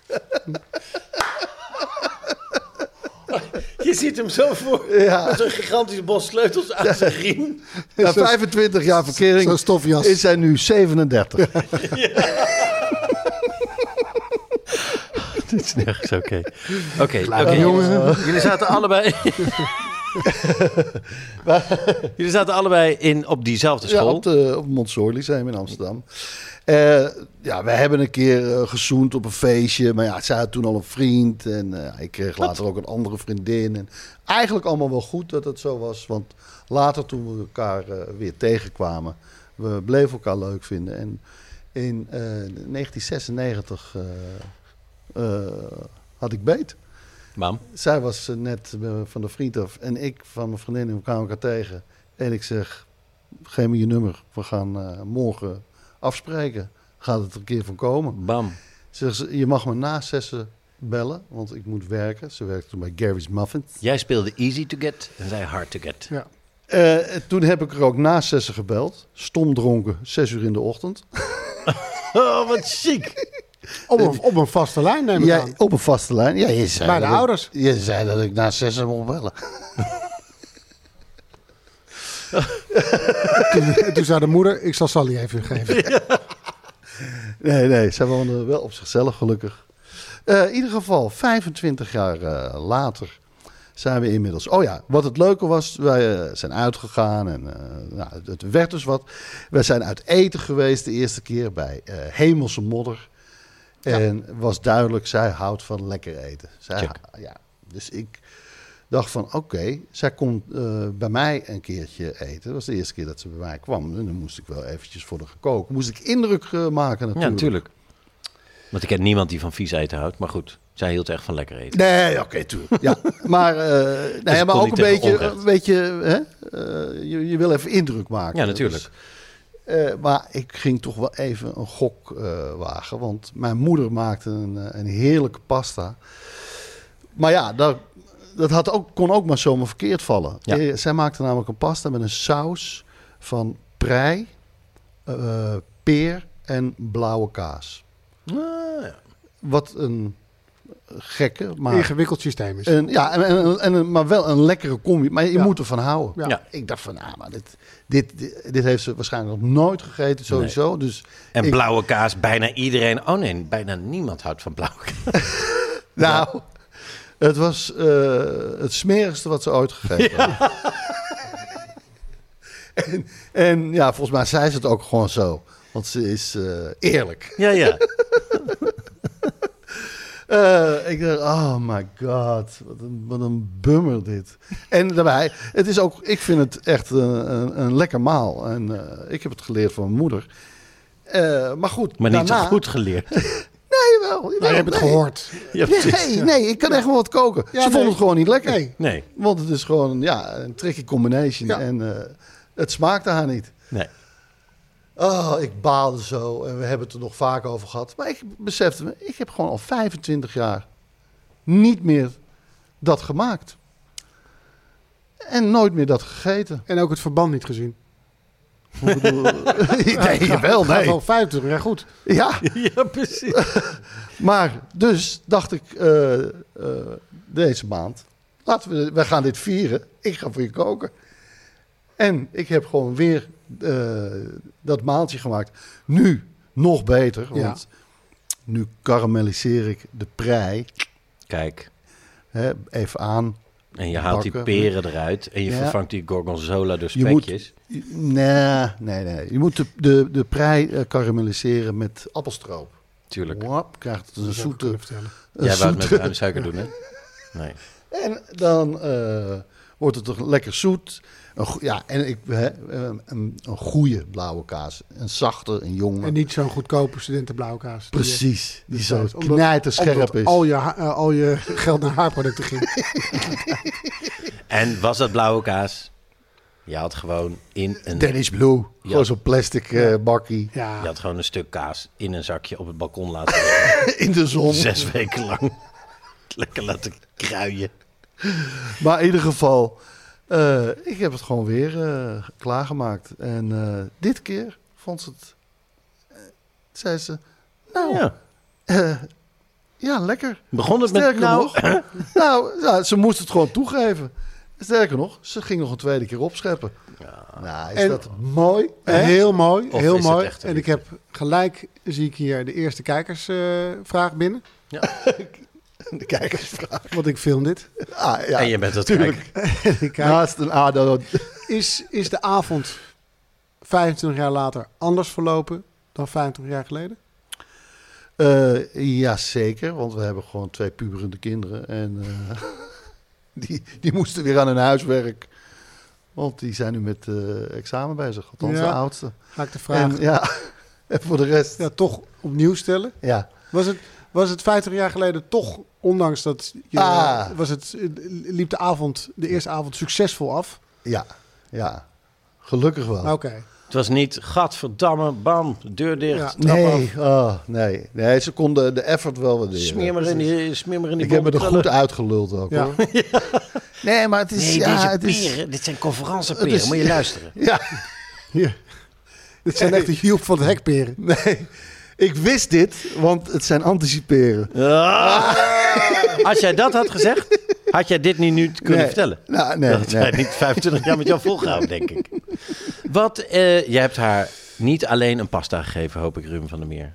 Je ziet hem zo voor. Met zo'n gigantische bos sleutels aan zijn riem. na 25 jaar verkering Zo'n stofjas. is zij nu 37. Dit is nergens oké. Oké, Eh, oké. Jullie zaten allebei. Jullie zaten allebei in, op diezelfde Ja, school. op, de, op het Montsoor Lyceum in Amsterdam. Eh, ja, we hebben een keer eh, gezoend op een feestje. Maar ja, zij had toen al een vriend. En eh, ik kreeg later ook een andere vriendin. En eigenlijk allemaal wel goed dat het zo was. Want later toen we elkaar eh, weer tegenkwamen... we bleven elkaar leuk vinden. En in eh, 1996 eh, eh, had ik beet. Mam. Zij was eh, net eh, van de vriend af en ik van mijn vriendin. En we kwamen elkaar tegen. En ik zeg, geef me je nummer. We gaan eh, morgen afspreken. Gaat het er een keer van komen? Bam. Zeg ze, je mag me na zessen bellen, want ik moet werken. Ze werkte toen bij Gary's Muffins. Jij speelde easy to get en zij hard to get. Ja. Eh, en toen heb ik er ook na zessen gebeld. Stom dronken, zes uur in de ochtend. Oh, wat chic. Op een, op een vaste lijn neem ik aan. Jij, op een vaste lijn. Ja, je zei Bij de dat ik- ouders. je zei dat ik na zessen mocht bellen. Toen, toen zei de moeder, ik zal Sally even geven. Nee, nee, zij wonen wel op zichzelf, gelukkig. Eh, in ieder geval, 25 jaar eh, later zijn we inmiddels. Oh ja, wat het leuke was, wij eh, zijn uitgegaan en eh, nou, het- het werd dus wat. Wij zijn uit eten geweest de eerste keer bij eh, Hemelse Modder. En was duidelijk, zij houdt van lekker eten. Zij, Check. ja, dus ik dacht van, oké, zij komt eh, bij mij een keertje eten. Dat was de eerste keer dat ze bij mij kwam. En dan moest ik wel eventjes voor haar gekookt. Moest ik indruk eh, maken Ja, natuurlijk. Want ik ken niemand die van vies eten houdt. Maar goed, zij hield echt van lekker eten. Nee, oké, tuurlijk. Ja, maar, eh nou ja, Dus het kon maar ook niet een tegen beetje, onrecht. een beetje hè? eh, je, je wil even indruk maken. Ja, natuurlijk. Dus, eh, maar ik ging toch wel even een gok eh, wagen, want mijn moeder maakte een, eh, een heerlijke pasta. Maar ja, dat, dat had ook, kon ook maar zomaar verkeerd vallen. Ja. Eh, zij maakte namelijk een pasta met een saus van prei, eh, peer en blauwe kaas. Ah, Wat een gekke, maar Ingewikkeld systeem is. een, ja, en, en, en, en- maar wel een lekkere combi. Maar je Ja. moet ervan houden. Ja. Ja. Ik dacht van, ah, maar dit, dit, dit, dit heeft ze waarschijnlijk nog nooit gegeten, sowieso. Dus En ik- blauwe kaas, bijna iedereen. Oh nee, bijna niemand houdt van blauwe kaas. Nou, het was eh, het smerigste wat ze ooit gegeten hebben. en, en ja, volgens mij zei ze het ook gewoon zo. Want ze is eh, eerlijk. Ja, ja. Eh, ik dacht, oh my god, wat een, wat een bummer dit. En daarbij, het is ook, ik vind het echt een, een, een lekker maal. En eh, ik heb het geleerd van mijn moeder. Eh, maar goed, Maar niet daarna... zo goed geleerd. Nee, wel. Nou, je hebt het nee. gehoord. Ja, precies. Nee, nee, ik kan echt wel wat koken. Ze Ja, vonden nee. het gewoon niet lekker. Nee. Nee. Want het is gewoon ja, een tricky combination. Ja. En eh, het smaakte haar niet. nee. Oh, ik baalde zo. En we hebben het er nog vaak over gehad. Maar ik besefte me, ik heb gewoon al 25 jaar niet meer dat gemaakt. En nooit meer dat gegeten. En ook het verband niet gezien. Ik bedoel, nee, wel, Gaat nee. wel 50, ja goed. Ja, Ja, precies. maar dus dacht ik eh, eh, deze maand, laten we, we gaan dit vieren. Ik ga voor je koken. En ik heb gewoon weer eh, dat maaltje gemaakt. Nu nog beter, Ja. want nu karamelliseer ik de prei Kijk, hè, even aan. en je haalt die Bakken. peren eruit en je Ja. vervangt die gorgonzola door Je moet, spekjes. nee, nee, nee. Je moet de, de, de prei eh, karamelliseren met appelstroop. Tuurlijk. Wap, krijgt het een zoete... vertellen. een Jij wou het met zoete- bruine suiker doen, hè? Nee. En dan eh, wordt het toch lekker zoet. Een goe- ja, en ik, hè, een, een een goede blauwe kaas. Een zachte, een jonge. En niet zo'n goedkope studentenblauwkaas. die, eh, Precies, die dus zo dat- omdat- knijterscherp omdat is. Al je, ha- eh, al je geld naar haarproducten ging. En was dat blauwe kaas? Je had gewoon in een, Dennis Blue, Ja. gewoon zo'n plastic eh, bakkie Ja. je had gewoon een stuk kaas in een zakje op het balkon laten liggen. in de zon. Zes weken lang. Lekker laten kruien. Maar in ieder geval, eh, ik heb het gewoon weer eh, klaargemaakt. En eh, dit keer vond ze het, eh, zei ze, nou, ja, Ja. ja lekker. Begon het met... Sterker Nou, nog, nou, ja, ze moest het gewoon toegeven. Sterker nog, ze ging nog een tweede keer opscheppen. Nou, is En- dat mooi? hè? Heel mooi, Of heel is het mooi. echt een En ik heb gelijk, zie ik hier de eerste kijkersvraag binnen. De kijkersvraag. Want ik film dit. Ah, ja, Oh. en je bent dat natuurlijk. kijken. Ik kijk, Naast een ADO. is, is de avond 25 jaar later anders verlopen dan 25 jaar geleden? Eh Jazeker, want we hebben gewoon twee puberende kinderen. En eh, die, die moesten weer aan hun huiswerk. Want die zijn nu met eh, examen bezig. Althans, Ja. de oudste. Ga ik de vraag En, ja, en voor de rest, ja, toch opnieuw stellen. ja. Was het, was het 50 jaar geleden toch, ondanks dat je, Ah. was het, eh, liep de avond, de eerste avond succesvol af? Ja, ja. Gelukkig wel. Oké. Het was niet, gadverdamme, bam, deur dicht. Ja. trap Nee, oh, nee, nee, ze konden de effort wel waarderen. Smeer maar in die, smeer maar in die Ik heb me er boterkrullen. goed uitgeluld ook. Ja. Hoor. Nee, maar het is. Nee, ja, deze het is, peren, dit zijn conferenceperen, Het is- moet je luisteren. Ja, Dit zijn echt de Joep van het Hekperen. nee. Ik wist dit, want het zijn anticiperen. Als jij dat Ah. had gezegd, had jij dit niet nu kunnen Nee. vertellen. Nou, nee, dat had jij nee. niet 25 jaar met jou volgehouden, denk ik. Wat, eh jij hebt haar niet alleen een pasta gegeven, hoop ik, Ruben van der Meer.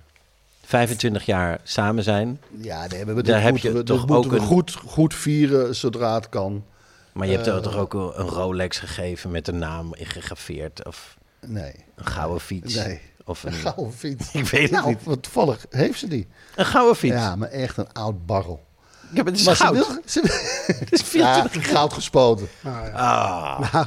25 jaar samen zijn, Ja, nee, maar dit Daar heb moeten je we, toch dit moeten ook we een- goed, goed vieren zodra het kan. maar je hebt Eh. haar toch ook wel een Rolex gegeven met een naam ingegraveerd of Nee, een gouden fiets. Nee. Nou. Of een een, gouden fiets. Ik weet het nou, niet. want toevallig heeft ze die. een gouden fiets. Ja, maar echt een oud barrel. Ik heb het is Maar goud. ze wil... Ze, Het is veel ja, te- goud gespoten. Ah, Nou,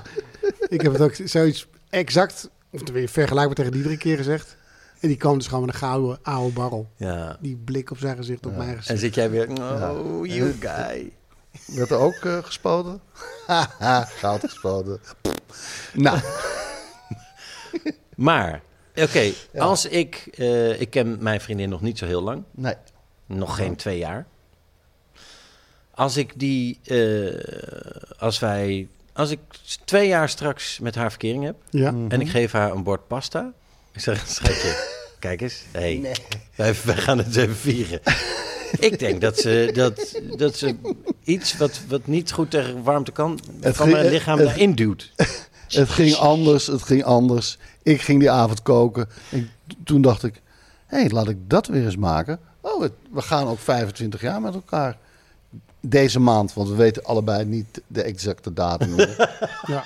Ik heb het ook zoiets exact, of weer vergelijkbaar tegen die drie keer gezegd. En die kwam dus gewoon met een gouden oude barrel. ja. Die blik op zijn gezicht, op mijn En gezicht. zit jij weer, oh, you guy. Werd er ook eh, gespoten? Haha, goud gespoten. nou, Maar, oké, als ik... eh, ik ken mijn vriendin nog niet zo heel lang. nee. Nog geen twee jaar. Als ik die... eh, als wij... Als ik s- twee jaar straks met haar verkering heb... Ja. en Mhm. ik geef haar een bord pasta... Ik zeg, schatje, kijk eens. Hey, wij, wij gaan het even vieren. ik denk dat ze, dat, dat ze iets wat, wat niet goed tegen warmte kan... Het van ging- mijn lichaam het- daarin duwt. Het ging anders, het ging anders. Ik ging die avond koken. Ik, toen dacht ik, hé, hey, laat ik dat weer eens maken. Oh, het- we gaan ook 25 jaar met elkaar. Deze maand, want we weten allebei niet de exacte datum. meer. Ja.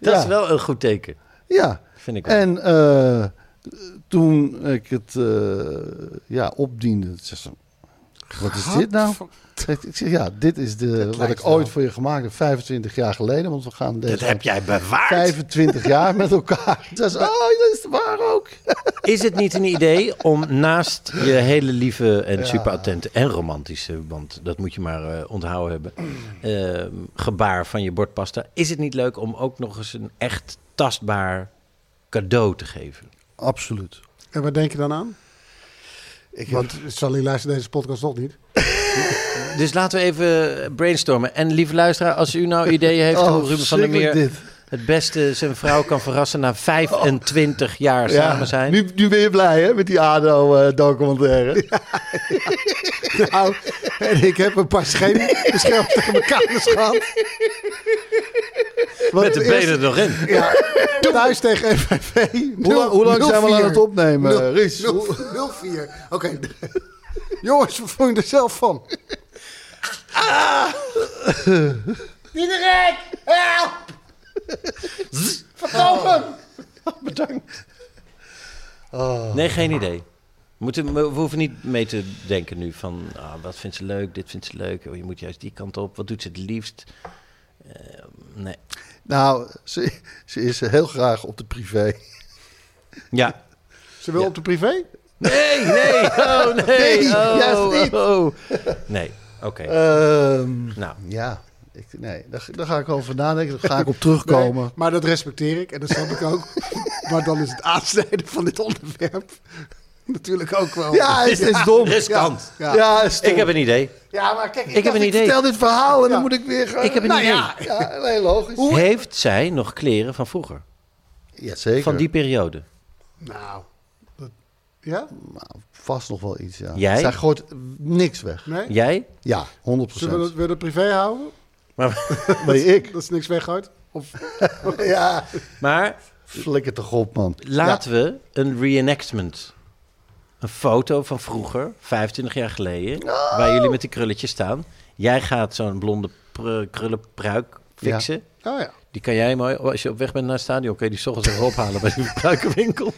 Dat Ja. is wel een goed teken, ja. vind ik wel. En eh, toen ik het eh, ja, opdiende, zei ze, wat is dit nou? Ik zeg, ja, dit is de, wat ik ooit voor je gemaakt heb, 25 jaar geleden. Want we gaan deze Dat heb jij bewaard. 25 jaar met elkaar. Zij zei, oh, dat is waar ook. Is het niet een idee om naast je hele lieve en super attente en romantische, want dat moet je maar eh, onthouden hebben, eh, gebaar van je bordpasta, is het niet leuk om ook nog eens een echt tastbaar cadeau te geven? Absoluut. En wat denk je dan aan? Ik heb- Want Sally luistert deze podcast toch niet? Dus laten we even brainstormen. En lieve luisteraar, als u nou ideeën heeft Oh, hoe Ruben van der Meer verschrikkelijk het beste zijn vrouw kan verrassen na 25 jaar Ja, samen zijn. Nu, nu ben je blij hè, met die ADO-documentaire. Nou, en ik heb een paar schermbeschermde kamers gehad. Want met de het benen eerste- er nog in. Ja, thuis tegen FVV. Hoe lang, hoe lang zijn we al aan het 04. opnemen, Ries? 04. Oké. Jongens, we voelen er zelf van. Nee, geen idee. We, moeten, we hoeven niet mee te denken nu van ah, wat vindt ze leuk, dit vindt ze leuk. Oh, je moet juist die kant op. Wat doet ze het liefst? Eh, nee. Nou, ze, ze is heel graag op de privé. Ja. Ze wil op de privé? Nee, nee, oh nee. Nee, oh, juist niet. oh. Nee, oké. Ehm, nou, ja, ik, nee, daar, daar ga ik over nadenken. Daar ga ik op terugkomen. Nee, maar dat respecteer ik en dat snap ik ook. maar dan is het aansnijden van dit onderwerp natuurlijk ook wel... Ja, het is, het is dom. riskant. Ja, ja, het is dom. Ik heb een idee. Ja, maar kijk... Ik heb een idee. Stel dit verhaal en Ja. dan moet ik weer gaan. Ik heb een Nou idee. Ja, ja, heel logisch. Heeft zij nog kleren van vroeger? Ja, zeker. Van die periode? Nou, dat- ja? Nou, vast nog wel iets, ja. Jij? Zij gooit niks weg. Nee? Jij? Ja, 100 Zullen we dat, willen we het privé houden? Maar, Nee, ik. Dat is niks weggooit? Of... Ja, maar flikker toch op, man. Laten we een reenactment. Een foto van vroeger, 25 jaar geleden, Oh. waar jullie met die krulletjes staan. Jij gaat zo'n blonde pr- krullenpruik fixen. Oh ja. Die kan jij mooi, als je op weg bent naar het stadion, kun je die 's ochtends even ophalen bij die pruikenwinkel.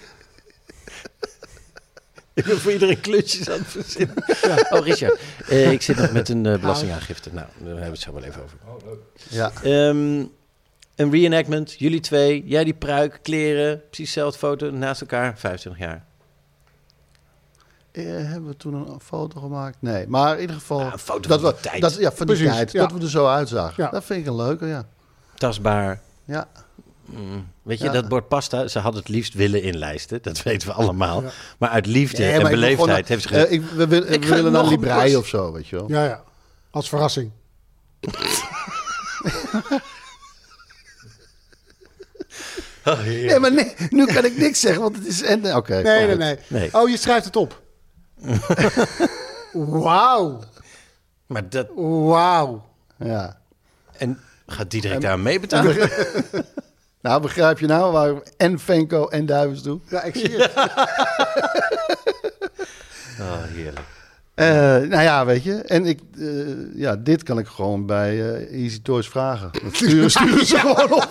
Ik ben voor iedereen klusjes aan het verzinnen. Oh, Richard, eh, ik zit nog met een eh, belastingaangifte. Nou, daar hebben we het zo wel even over. Ja. Ehm, een reenactment, jullie twee, jij die pruik, kleren, precies dezelfde foto naast elkaar, 25 jaar. Eh, hebben we toen een foto gemaakt? Nee, maar in ieder geval... Ja, Nou, een foto dat van we, die tijd. Dat, ja, van die Precies, tijd. ja. Dat we er zo uitzagen. Ja. Dat vind ik een leuke, ja. Tastbaar. Ja, Mm. Weet je, Ja. dat bord pasta, ze had het liefst willen inlijsten, dat weten we allemaal. Maar uit liefde Nee, en maar ik wil gewoon- beleefdheid heeft ze gezegd, eh, ik, we wil- we ga willen naar nog een Librei post. of zo, weet je wel. Ja, ja. Als verrassing. oh, Nee, maar nee, nu kan ik niks zeggen, want het is... en- Oké, Nee, nee, fijn. nee, Nee. Oh, je schrijft het op. Wauw. maar dat, Wauw. Ja. en gaat Diederik daar aan mee betalen? Nou, begrijp je nou waar we en Venko en Duivens doen? Ja, ik zie het. Oh, heerlijk. Eh, nou ja, weet je. En ik, eh, ja, dit kan ik gewoon bij eh, Easy Toys vragen. Dat Sturen, sturen ze gewoon op.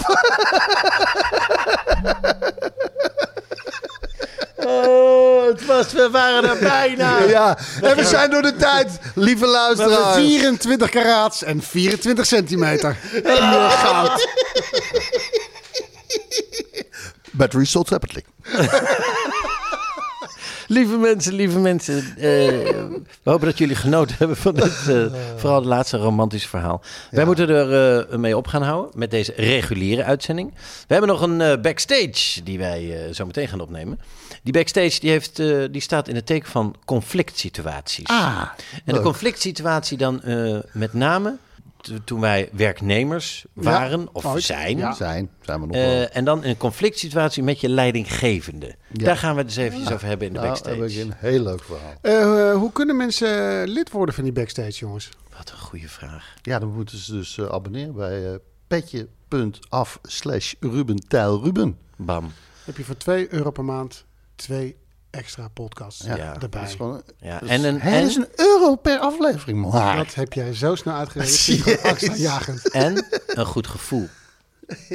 Oh, het was, we waren er bijna. Ja. En we zijn door de tijd, lieve luisteraars. 24 karaats en 24 centimeter. Puur goud. Battery sold separately. Lieve mensen, lieve mensen. eh, we hopen dat jullie genoten hebben van dit, eh, vooral het laatste romantische verhaal. Wij moeten er eh, mee op gaan houden met deze reguliere uitzending. We hebben nog een eh, backstage die wij eh, zo meteen gaan opnemen. Die backstage die heeft, eh, die staat in het teken van conflict situaties. Ah, en de conflict situatie dan eh, met name t- toen wij werknemers waren of ooit. zijn. Ja. Zijn, zijn we nog wel. Eh, en dan een conflict situatie met je leidinggevende. Daar gaan we het eens eventjes over hebben in de Nou, backstage. heb ik een heel leuk verhaal. Eh, hoe kunnen mensen lid worden van die backstage, jongens? Wat een goede vraag. Ja, dan moeten ze dus eh, abonneren bij eh petje.af slash Ruben Tijl Ruben. Bam. Heb je voor 2 euro per maand twee extra podcasts Ja, erbij. Dat is gewoon... Ja, en een, Hé, dat en, is een euro per aflevering, man. Dat heb jij zo snel uitgerekend. Zie je gewoon jagend. en een goed gevoel.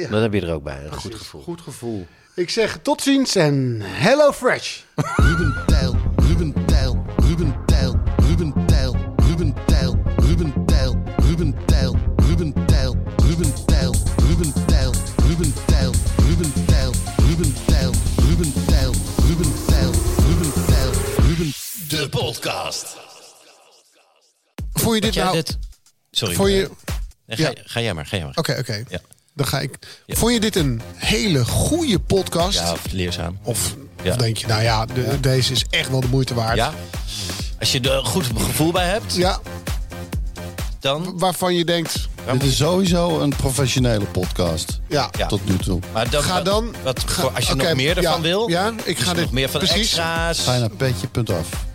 Dat heb je er ook bij, een goed gevoel. Goed gevoel. Ik zeg tot ziens en hello fresh. Ruben Tijl, Ruben Tijl, Ruben Tijl, Ruben Tijl, Ruben Tijl, Ruben Ruben Tijl, Ruben Tijl, Ruben Tijl, Ruben Tijl, Ruben Tijl, Ruben Tijl, Ruben Tijl, Ruben Tijl, Ruben Tijl, Ruben Tijl, Ruben Tijl, Ruben de podcast. Vond je dit Had jij nou... dit? Sorry. Vond je... eh, nee, ga, ja. ga jij maar, ga jij maar. Oké, oké. Ja. Dan ga ik... Ja. Vond je dit een hele goede podcast? Ja, of leerzaam. Of, Ja. of denk je, nou ja, de- deze is echt wel de moeite waard? Ja. Als je er een goed gevoel bij hebt, Ja, dan... waarvan je denkt, Dit is sowieso een professionele podcast. ja, Ja. Ah, Tot nu toe. Maar dan, Ga wat- dan- Wat, ga- voor- als je oké, nog meer ervan ja, wil. ja, ik dus ga nog dit- meer van precies. extra's. Ga je naar petje.af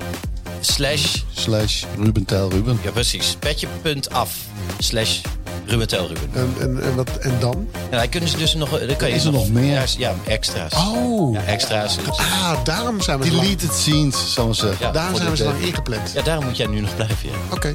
Slash. slash Ruben Tijl Ruben. Ja, precies. Petje.af. Slash Ruben Tel Ruben. en, en, en, wat, en dan? En daar kunnen ze dus nog... Dan kan je Is er nog meer? Ja, is- ja, extra's. Oh, Ja, extra's. ah, daarom zijn we zo lang, Deleted scenes, zal ik zeggen. Ja, daarom voor zijn we de zo lang derde. ingepland. Ja, daarom moet jij nu nog blijven. Ja. Oké.